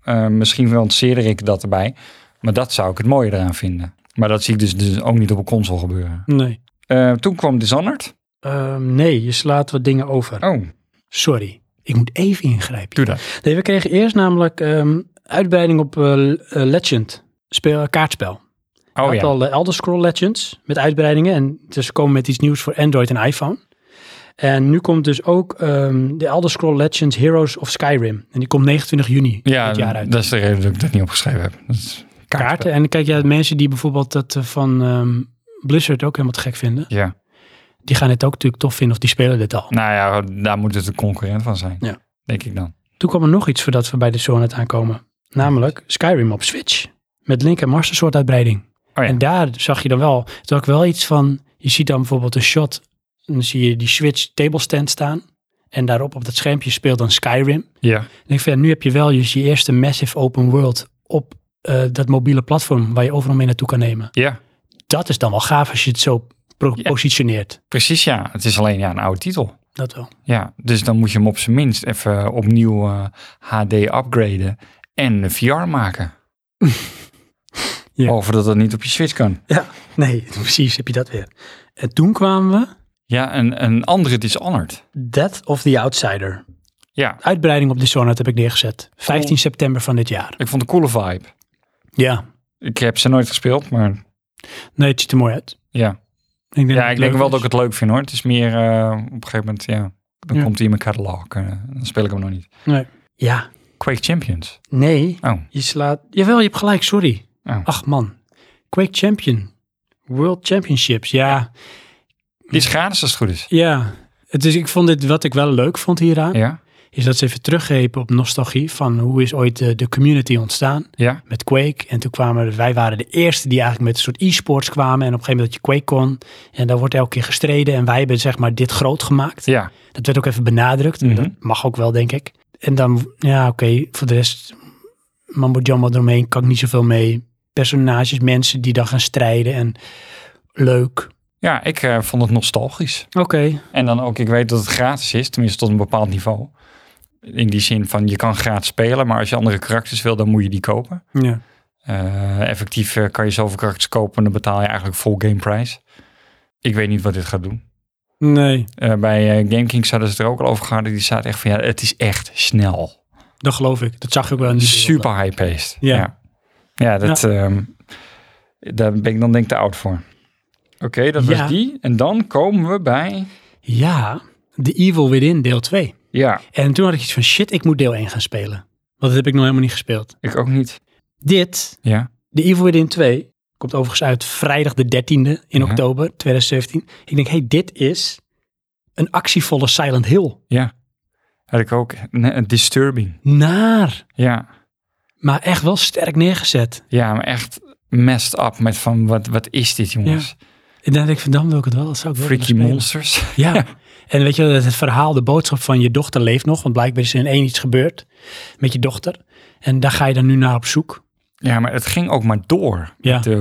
eh, misschien lanceerde ik dat erbij. Maar dat zou ik het mooie eraan vinden. Maar dat zie ik dus, dus ook niet op een console gebeuren. Nee. Eh, toen kwam Dishonored. Ehm, nee, je slaat wat dingen over. Oh, Sorry. Ik moet even ingrijpen. doe dat. Nee, we kregen eerst namelijk ehm, uitbreiding op eh, eh, Legend. Speel, kaartspel. Oh had ja. al de Elder Scroll Legends met uitbreidingen. En dus ze komen met iets nieuws voor Android en iPhone. En nu komt dus ook ehm, de Elder Scroll Legends Heroes of Skyrim. En die komt 29 juni Ja, dit jaar uit. dat is de reden dat ik dat niet opgeschreven heb. Dat is kaartspel. Kaarten. En kijk, ja, mensen die bijvoorbeeld dat eh, van ehm, Blizzard ook helemaal te gek vinden. Ja. Die gaan het ook natuurlijk tof vinden of die spelen dit al. Nou ja, daar moet het een concurrent van zijn. Ja. Denk ik dan. Toen kwam er nog iets voordat we bij de Sonnet aankomen. Namelijk Skyrim op Switch. Met Link en Master Sword uitbreiding. Oh ja. En daar zag je dan wel, toen had ik wel iets van, je ziet dan bijvoorbeeld een shot. En dan zie je die Switch table stand staan. En daarop op dat schermpje speelt dan Skyrim. Ja. En ik vind, nu heb je wel dus je eerste massive open world op eh, dat mobiele platform waar je overal mee naartoe kan nemen. Ja. Dat is dan wel gaaf als je het zo pro- Ja. positioneert. Precies, ja. Het is alleen ja, een oude titel. Dat wel. Ja, dus dan moet je hem op zijn minst even opnieuw eh, HD upgraden en een VR maken. Ja. Behalve dat dat niet op je Switch kan. Nee, precies heb je dat weer. En toen kwamen we Ja, een, een andere Dishonored. Death of the Outsider. Ja, Uitbreiding op de Sonnet heb ik neergezet. 15 Oh. september van dit jaar. ik vond de coole vibe. Ja. Ik heb ze nooit gespeeld, maar Nee, het ziet er mooi uit. ja. Ik denk Ja, ik denk wel dat ik het het leuk vind hoor. Het is meer eh, op een gegeven moment, ja. Dan Ja. komt hij in mijn catalog. eh, dan speel ik hem nog niet. leuk is. Nee. Ja, Quake Champions. nee. Oh, Je slaat... Jawel, je hebt gelijk, sorry. Oh. Ach man. Quake Champion. World Championships, ja. die is gratis als het goed is. Ja. Het is, ik vond dit, wat ik wel leuk vond hieraan, Ja, is dat ze even teruggeven op nostalgie van hoe is ooit de, de community ontstaan ja, met Quake. En toen kwamen, er- wij waren de eerste die eigenlijk met een soort e-sports kwamen en op een gegeven moment dat je Quake kon. En daar wordt elke keer gestreden en wij hebben zeg maar dit groot gemaakt. ja. Dat werd ook even benadrukt. Mhm. Dat mag ook wel, denk ik. En dan, ja, oké, voor de rest, Mambo Jumbo eromheen kan ik niet zoveel mee. Personages, mensen die dan gaan strijden en leuk. Ja, ik eh, vond het nostalgisch. Oké. En dan ook, ik weet dat het gratis is, tenminste tot een bepaald niveau. In die zin van, je kan gratis spelen, maar als je andere karakters wil, dan moet je die kopen. Ja. Eh, effectief eh, kan je zoveel karakters kopen en dan betaal je eigenlijk full game price. Ik weet niet wat dit gaat doen. Nee, Eh, bij eh, GameKings hadden ze het er ook al over gehad. Die staat echt van, ja, het is echt snel. dat geloof ik. Dat zag ik ook wel in die beelden. Super high-paced. Ja. ja. Ja, dat, ehm, daar ben ik dan denk ik te oud voor. Oké, dat Ja. was die. En dan komen we bij... Ja, The Evil Within, deel 2. Ja, En toen had ik iets van, shit, ik moet deel 1 gaan spelen. Want dat heb ik nog helemaal niet gespeeld. ik ook niet. Dit, Ja, The Evil Within 2, komt overigens uit vrijdag de 13e in Ja. oktober 2017. Ik denk, hey, dit is een actievolle Silent Hill. had ik ook. Nee, een disturbing. Naar, Ja. maar echt wel sterk neergezet. ja, maar echt messed up met van wat, wat is dit jongens? En dan denk ik, van, dan wil ik het wel. Dat zou ik wel Freaky willen monsters. spelen. Ja. En weet je, dat het verhaal, de boodschap van je dochter leeft nog. Want blijkbaar is er in één iets gebeurd met je dochter. En daar ga je dan nu naar op zoek. Ja, maar het ging ook maar door. Ja. Met De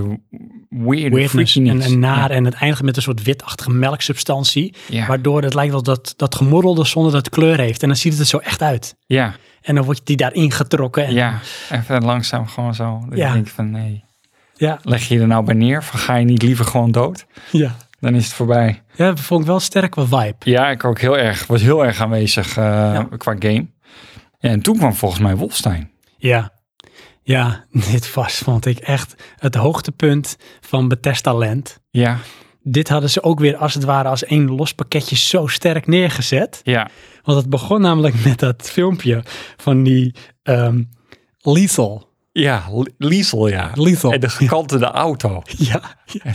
weird Weirdness en, freakiness. en naar. En het eindigt met een soort witachtige melksubstantie. Ja, ja. Waardoor het lijkt wel dat, dat gemorrelde zonder dat het kleur heeft. En dan ziet het er zo echt uit. ja, En dan wordt die daarin getrokken. En, ja. Even langzaam gewoon zo. Dat Ja. Ik denk van nee. Ja. Leg je er nou bij neer? Van, ga je niet liever gewoon dood? ja. Dan is het voorbij. Ja, dat vond ik wel sterk wat vibe. Ja, ik ook heel erg. Was heel erg aanwezig eh, qua game. Ja, en toen kwam volgens mij Wolfstein. Ja. Ja, dit was, vond ik echt het hoogtepunt van Bethesda Land. Ja, Dit hadden ze ook weer als het ware als één los pakketje zo sterk neergezet. ja, Want het begon namelijk met dat filmpje van die ehm, Lethal. ja. L- Liesel, ja. Lethal. En de gekantelde auto. Ja. ja.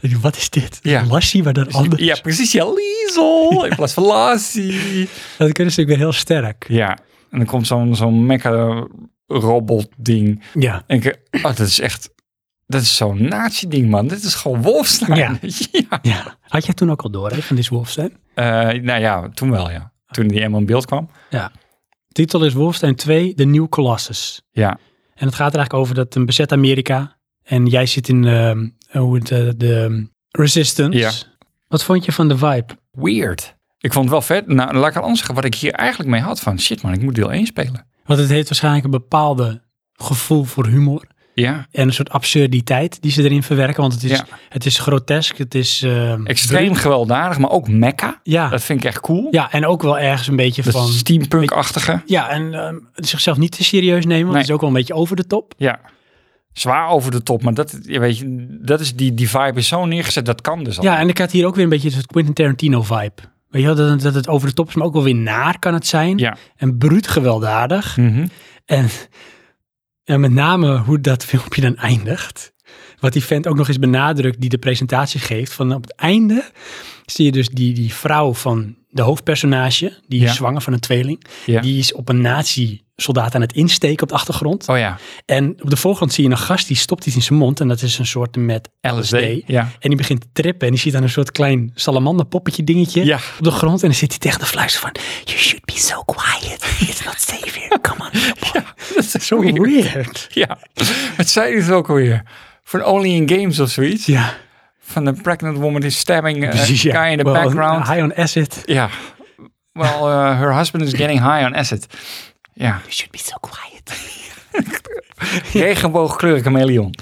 Ik dacht, Wat is dit? Ja. Lassie, maar dan anders. Ja, precies. Ja, Liesel in plaats van Lassie. Dat kunnen ze natuurlijk weer heel sterk. Ja, en dan komt zo'n zo'n mecha robot ding. Ja. En ik, oh, dat is echt, dat is zo'n nazi ding, man. Dit is gewoon Wolfstein. Ja. Ja. ja. Had jij toen ook al door, hè, van dit Wolfstein? Eh, nou ja, toen wel, ja. Toen die eenmaal in beeld kwam. Ja. titel is Wolfenstein 2, The New Colossus. Ja. En het gaat er eigenlijk over dat een bezet Amerika. En jij zit in ehm, hoe het, eh, de ehm, Resistance. Ja. Wat vond je van de vibe? Weird. Ik vond het wel vet. Nou, laat ik het anders zeggen. Wat ik hier eigenlijk mee had van... Shit man, ik moet deel 1 spelen. Want het heeft waarschijnlijk een bepaalde gevoel voor humor. Ja. En een soort absurditeit die ze erin verwerken. Want het is, Ja. het is grotesk. Het is... ehm, Extreem gewelddadig, maar ook mecca. Ja. Dat vind ik echt cool. ja, en ook wel ergens een beetje Dat van... steampunk-achtige. Ja, en ehm, zichzelf niet te serieus nemen. Want Nee. het is ook wel een beetje over de top. Ja. Zwaar over de top, maar dat, je weet je, dat is die, die vibe is zo neergezet, dat kan dus al. Ja, en ik had hier ook weer een beetje het Quentin Tarantino vibe. Weet je wel, dat, dat het over de top is, maar ook wel weer naar kan het zijn. Ja. En bruut gewelddadig. Mhm. En, en met name hoe dat filmpje dan eindigt. Wat die vent ook nog eens benadrukt die de presentatie geeft. Van op het einde zie je dus die, die vrouw van de hoofdpersonage. Die Ja. is zwanger van een tweeling. Ja. Die is op een nazi soldaat aan het insteken op de achtergrond. Oh ja, En op de voorgrond zie je een gast die stopt iets in zijn mond. En dat is een soort met LSD. Ja. En die begint te trippen. En die ziet dan een soort klein salamander poppetje dingetje Ja. op de grond. En dan zit hij tegen de fluister van... You should be so quiet. It's not safe here. Come on. Dat is Zo weird. weird. Ja. Wat zei hij het ook alweer? Van Only in Games of zoiets. Ja, Van de pregnant woman is stabbing a precies. ja. guy in the Wel, background. High on acid. Ja. Well, uh, her husband is getting high on acid. Ja. You should be so quiet. Regenboogkleurig chameleon.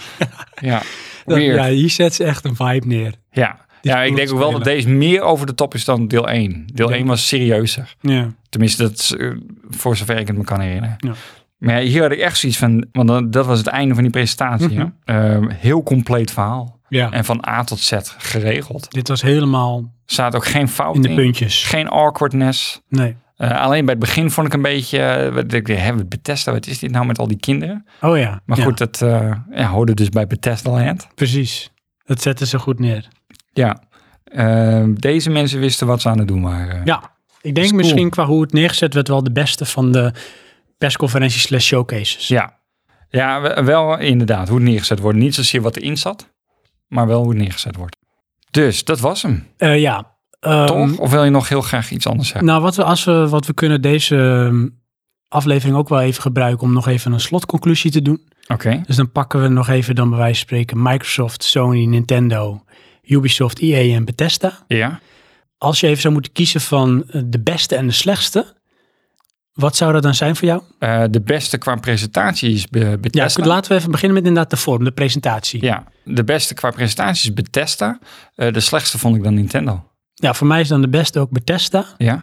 Ja. Dat, Weird. ja, hier zet ze echt een vibe neer. Ja. Dit Ja, ik denk ook wel dat deze meer over de top is dan deel 1. Deel Ja. 1 was serieuzer. Ja. Tenminste, dat is, eh, voor zover ik het me kan herinneren. Ja. Maar ja, hier had ik echt zoiets van, want dan- dat was het einde van die presentatie. Mhm. hè. Eh, heel compleet verhaal. ja. En van A tot Z geregeld. Dit was helemaal Zaten ook geen fout in in. de puntjes. Geen awkwardness. Nee. Eh, alleen bij het begin vond ik een beetje, eh, wat ik dacht, hè, Bethesda, wat is dit nou met al die kinderen? Oh ja. Maar Ja, goed, dat eh, ja, hoorde dus bij Bethesda Land. Precies. Dat zetten ze goed neer. Ja, Eh, deze mensen wisten wat ze aan het doen waren. Ja, ik denk Is cool. misschien qua hoe het neergezet werd wel de beste van de persconferenties slash showcases. Dus Ja. Ja, we- wel inderdaad, hoe het neergezet wordt. Niet zozeer wat erin zat, maar wel hoe het neergezet wordt. Dus, dat was hem, Eh, ja. Ehm, toch? Of wil je nog heel graag iets anders zeggen? Nou, wat we, als we, wat we kunnen deze ehm, aflevering ook wel even gebruiken om nog even een slotconclusie te doen. Oké, Dus dan pakken we nog even dan bij wijze van spreken Microsoft, Sony, Nintendo, Ubisoft, EA en Bethesda. ja. Als je even zou moeten kiezen van eh, de beste en de slechtste, wat zou dat dan zijn voor jou? Eh, de beste qua presentatie is Be- Ja, Bethesda. laten we even beginnen met inderdaad de vorm, de presentatie. Ja. Ja, de beste qua presentatie is Bethesda. Eh, de slechtste vond ik dan Nintendo. voor mij is dan de beste ook Bethesda. Ja,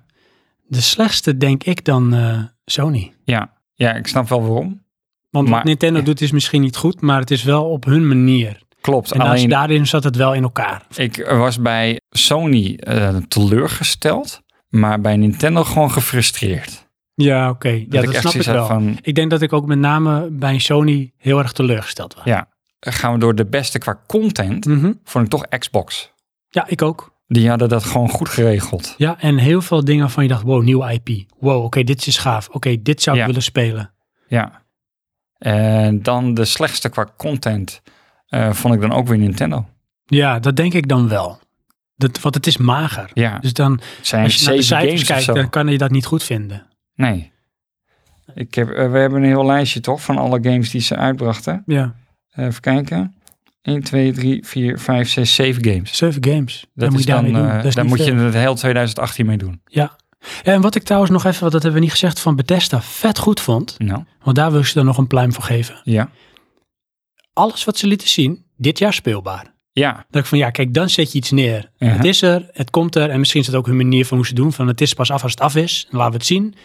De slechtste denk ik dan eh, Sony. ja. ja ik snap wel waarom. Want Maar- wat Nintendo ja. doet is misschien niet goed, maar het is wel op hun manier. Klopt, En als alleen daarin zat het wel in elkaar. ik was bij Sony eh, teleurgesteld, maar bij Nintendo gewoon gefrustreerd. Ja, oké. Ja, ik dat echt snap ik zoiets had wel. van, Ik denk dat ik ook met name bij Sony heel erg teleurgesteld was. Ja. eh, gaan we door de beste qua content, Mhm. vond ik toch Xbox. Ja, ik ook. Die hadden dat gewoon goed geregeld. Ja, en heel veel dingen van je dacht, wow, nieuw IP. Wow, oké, dit is gaaf. Oké, dit zou Ja. ik willen spelen. Ja. En dan de slechtste qua content eh, vond ik dan ook weer Nintendo. Ja, dat denk ik dan wel. Dat, want het is mager. Ja, Dus dan, het zijn als je naar de zeven cijfers games of kijkt, zo. dan kan je dat niet goed vinden. Nee. Ik heb, eh, we hebben een heel lijstje toch van alle games die ze uitbrachten. Ja, Even kijken. 1, 2, 3, 4, 5, 6, 7 games. zeven games. Dat Dat moet is je daarmee dan, doen. eh, Dat is daar niet moet je veel. het heel 2018 mee doen. Ja. Ja, En wat ik trouwens nog even, want dat hebben we niet gezegd, van Bethesda vet goed vond. Nou, Want daar wil ik ze dan nog een pluim voor geven. ja. Alles wat ze lieten zien, dit jaar speelbaar. Ja, Dat ik van ja, kijk, dan zet je iets neer. Ja. Het is er, het komt er. En misschien is dat ook hun manier van hoe ze doen. Van het is pas af als het af is. En laten we het zien.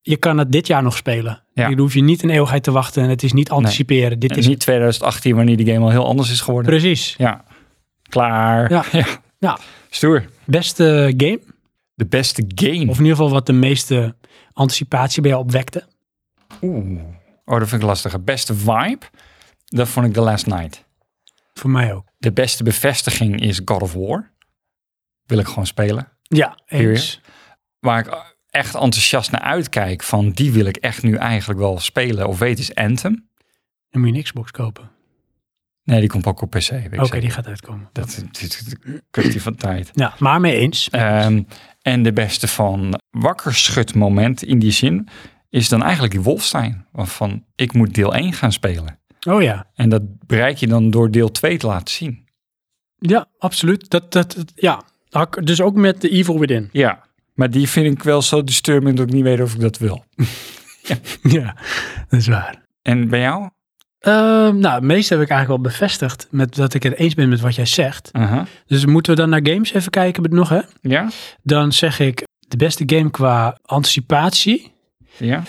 Je kan het dit jaar nog spelen. Ja. Je hoef je niet een eeuwigheid te wachten. En het is niet anticiperen. Dit en is niet 2018 wanneer die game al heel anders is geworden. precies. Ja, klaar. Ja. ja. Ja. Stoer. Beste game. De beste game. Of in ieder geval wat de meeste anticipatie bij jou opwekte. Oeh. Oh, dat vind ik lastig. Beste vibe, dat vond ik The Last Night. Voor mij ook. De beste bevestiging is God of War. Wil ik gewoon spelen. Ja, Hier, eens. Waar ik echt enthousiast naar uitkijk van die wil ik echt nu eigenlijk wel spelen. Of weet is Anthem. Dan moet je een Xbox kopen. Nee, die komt ook op PC. Weet ik Oké, zeker. die gaat uitkomen. Dat is dat is een kwestie van tijd. Ja, maar mee eens. Ehm, en de beste van wakker schud moment in die zin is dan eigenlijk die Wolfstein. Van ik moet deel 1 gaan spelen. Oh ja. En dat bereik je dan door deel 2 te laten zien. Ja, absoluut. Dat, dat, dat- ja. Hak- Dus ook met The Evil Within. Ja, maar die vind ik wel zo disturbing dat ik niet weet of ik dat wil. ja, dat is waar. En bij jou? Ehm, nou, het meeste heb ik eigenlijk wel bevestigd met dat ik het eens ben met wat jij zegt. Aha. Dus moeten we dan naar games even kijken nog, hè? Ja? Dan zeg ik, de beste game qua anticipatie Ja?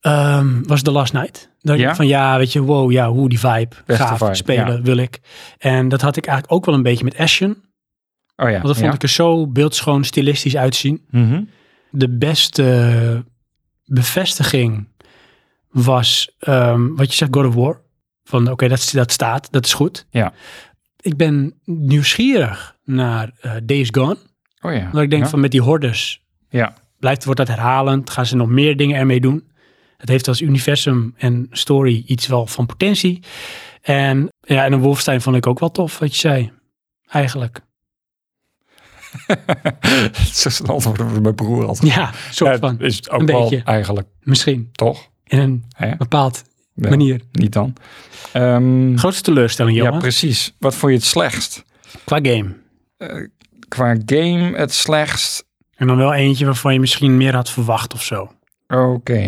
ehm, was The Last Night. Dat Ja? ik van ja, weet je, wow, ja, hoe die vibe, Beste gaaf, vibe, spelen wil ik. En dat had ik eigenlijk ook wel een beetje met Ashen. Oh ja. Want dat vond ja. ik er zo beeldschoon, stilistisch uitzien. Mhm. De beste bevestiging was, ehm, wat je zegt, God of War. Van oké, dat, dat staat, dat is goed. Ja. Ik ben nieuwsgierig naar eh, Days Gone. Oh ja. Omdat ik denk ja. van met die hordes Ja. blijft, wordt dat herhalend. Gaan ze nog meer dingen ermee doen? Het heeft als universum en story iets wel van potentie. En ja, en een Wolfstein vond ik ook wel tof, wat je zei. Eigenlijk. Zo snel antwoord op mijn broer altijd. Ja, soort Ja, van. is het ook Een wel beetje. eigenlijk, Misschien. toch? In een Hè? bepaald Nee, manier. Niet dan. Ehm, Grootste teleurstelling, ja, Johan. precies. Wat vond je het slechtst? qua game. Qua game het slechtst? En dan wel eentje waarvan je misschien meer had verwacht of zo. Oké.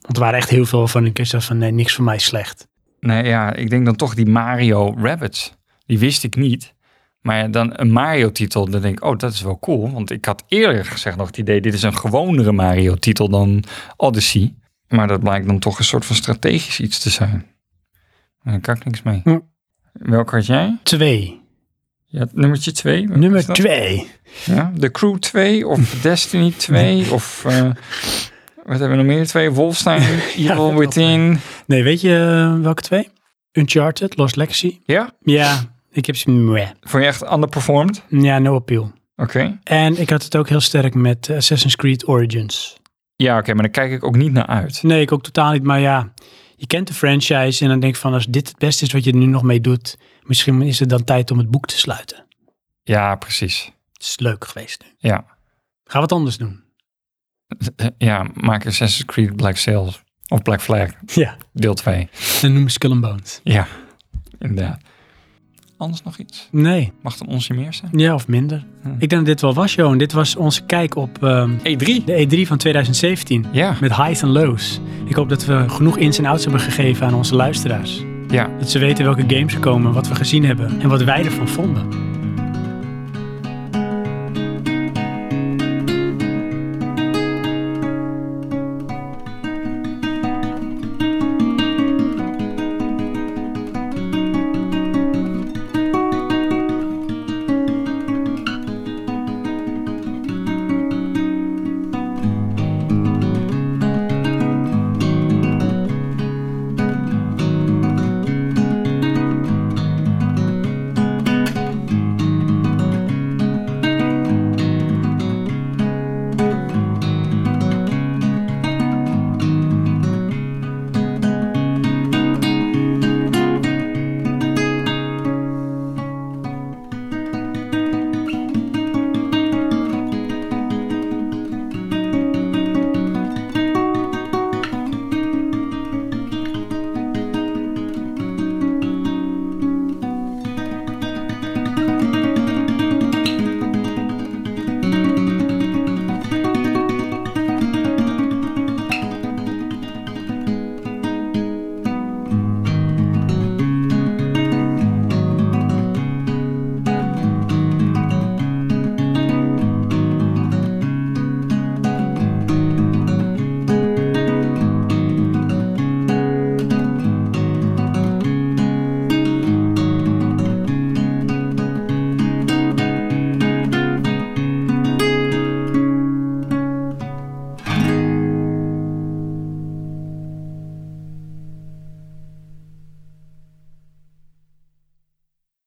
Want er waren echt heel veel van. Ik dacht van, nee, niks voor mij slecht. Nee, ja, ik denk dan toch die Mario Rabbits. Die wist ik niet. Maar dan een Mario-titel, dan denk ik, oh, dat is wel cool. Want ik had eerder gezegd nog het idee, dit is een gewonere Mario-titel dan Odyssey. Maar dat blijkt dan toch een soort van strategisch iets te zijn. En daar kan ik niks mee. Ja. Welke had jij? Twee. Ja, nummertje 2. Nummer twee. Ja, The Crew 2 of Destiny 2 of... eh, wat hebben we nog meer? Twee Wolfstein, Evil dat Within. Nee, weet je eh, welke twee? Uncharted, Lost Legacy. Ja, Ja, ik heb ze... mwah. vond je echt underperformed? Oké. Ja, no appeal. En ik had het ook heel sterk met eh, Assassin's Creed Origins. Ja, oké, maar daar kijk ik ook niet naar uit. Nee, ik ook totaal niet. Maar ja, je kent de franchise en dan denk ik van... als dit het beste is wat je er nu nog mee doet... misschien is het dan tijd om het boek te sluiten. Ja, precies. Het is leuk geweest nu. Ja. Gaan we wat anders doen? Ja, maak Assassin's Creed Black Sails of Black Flag, Ja. deel 2. Dan noemen we Skull and Bones. Ja, inderdaad. Anders nog iets? Nee. Mag het een onsje meer zijn? Ja, of minder. Hm. Ik denk dat dit wel was, Johan. Dit was onze kijk op ehm, E3. de E3 van 2017. Ja, Met highs en lows. Ik hoop dat we genoeg ins en outs hebben gegeven aan onze luisteraars. ja, Dat ze weten welke games er komen, wat we gezien hebben en wat wij ervan vonden.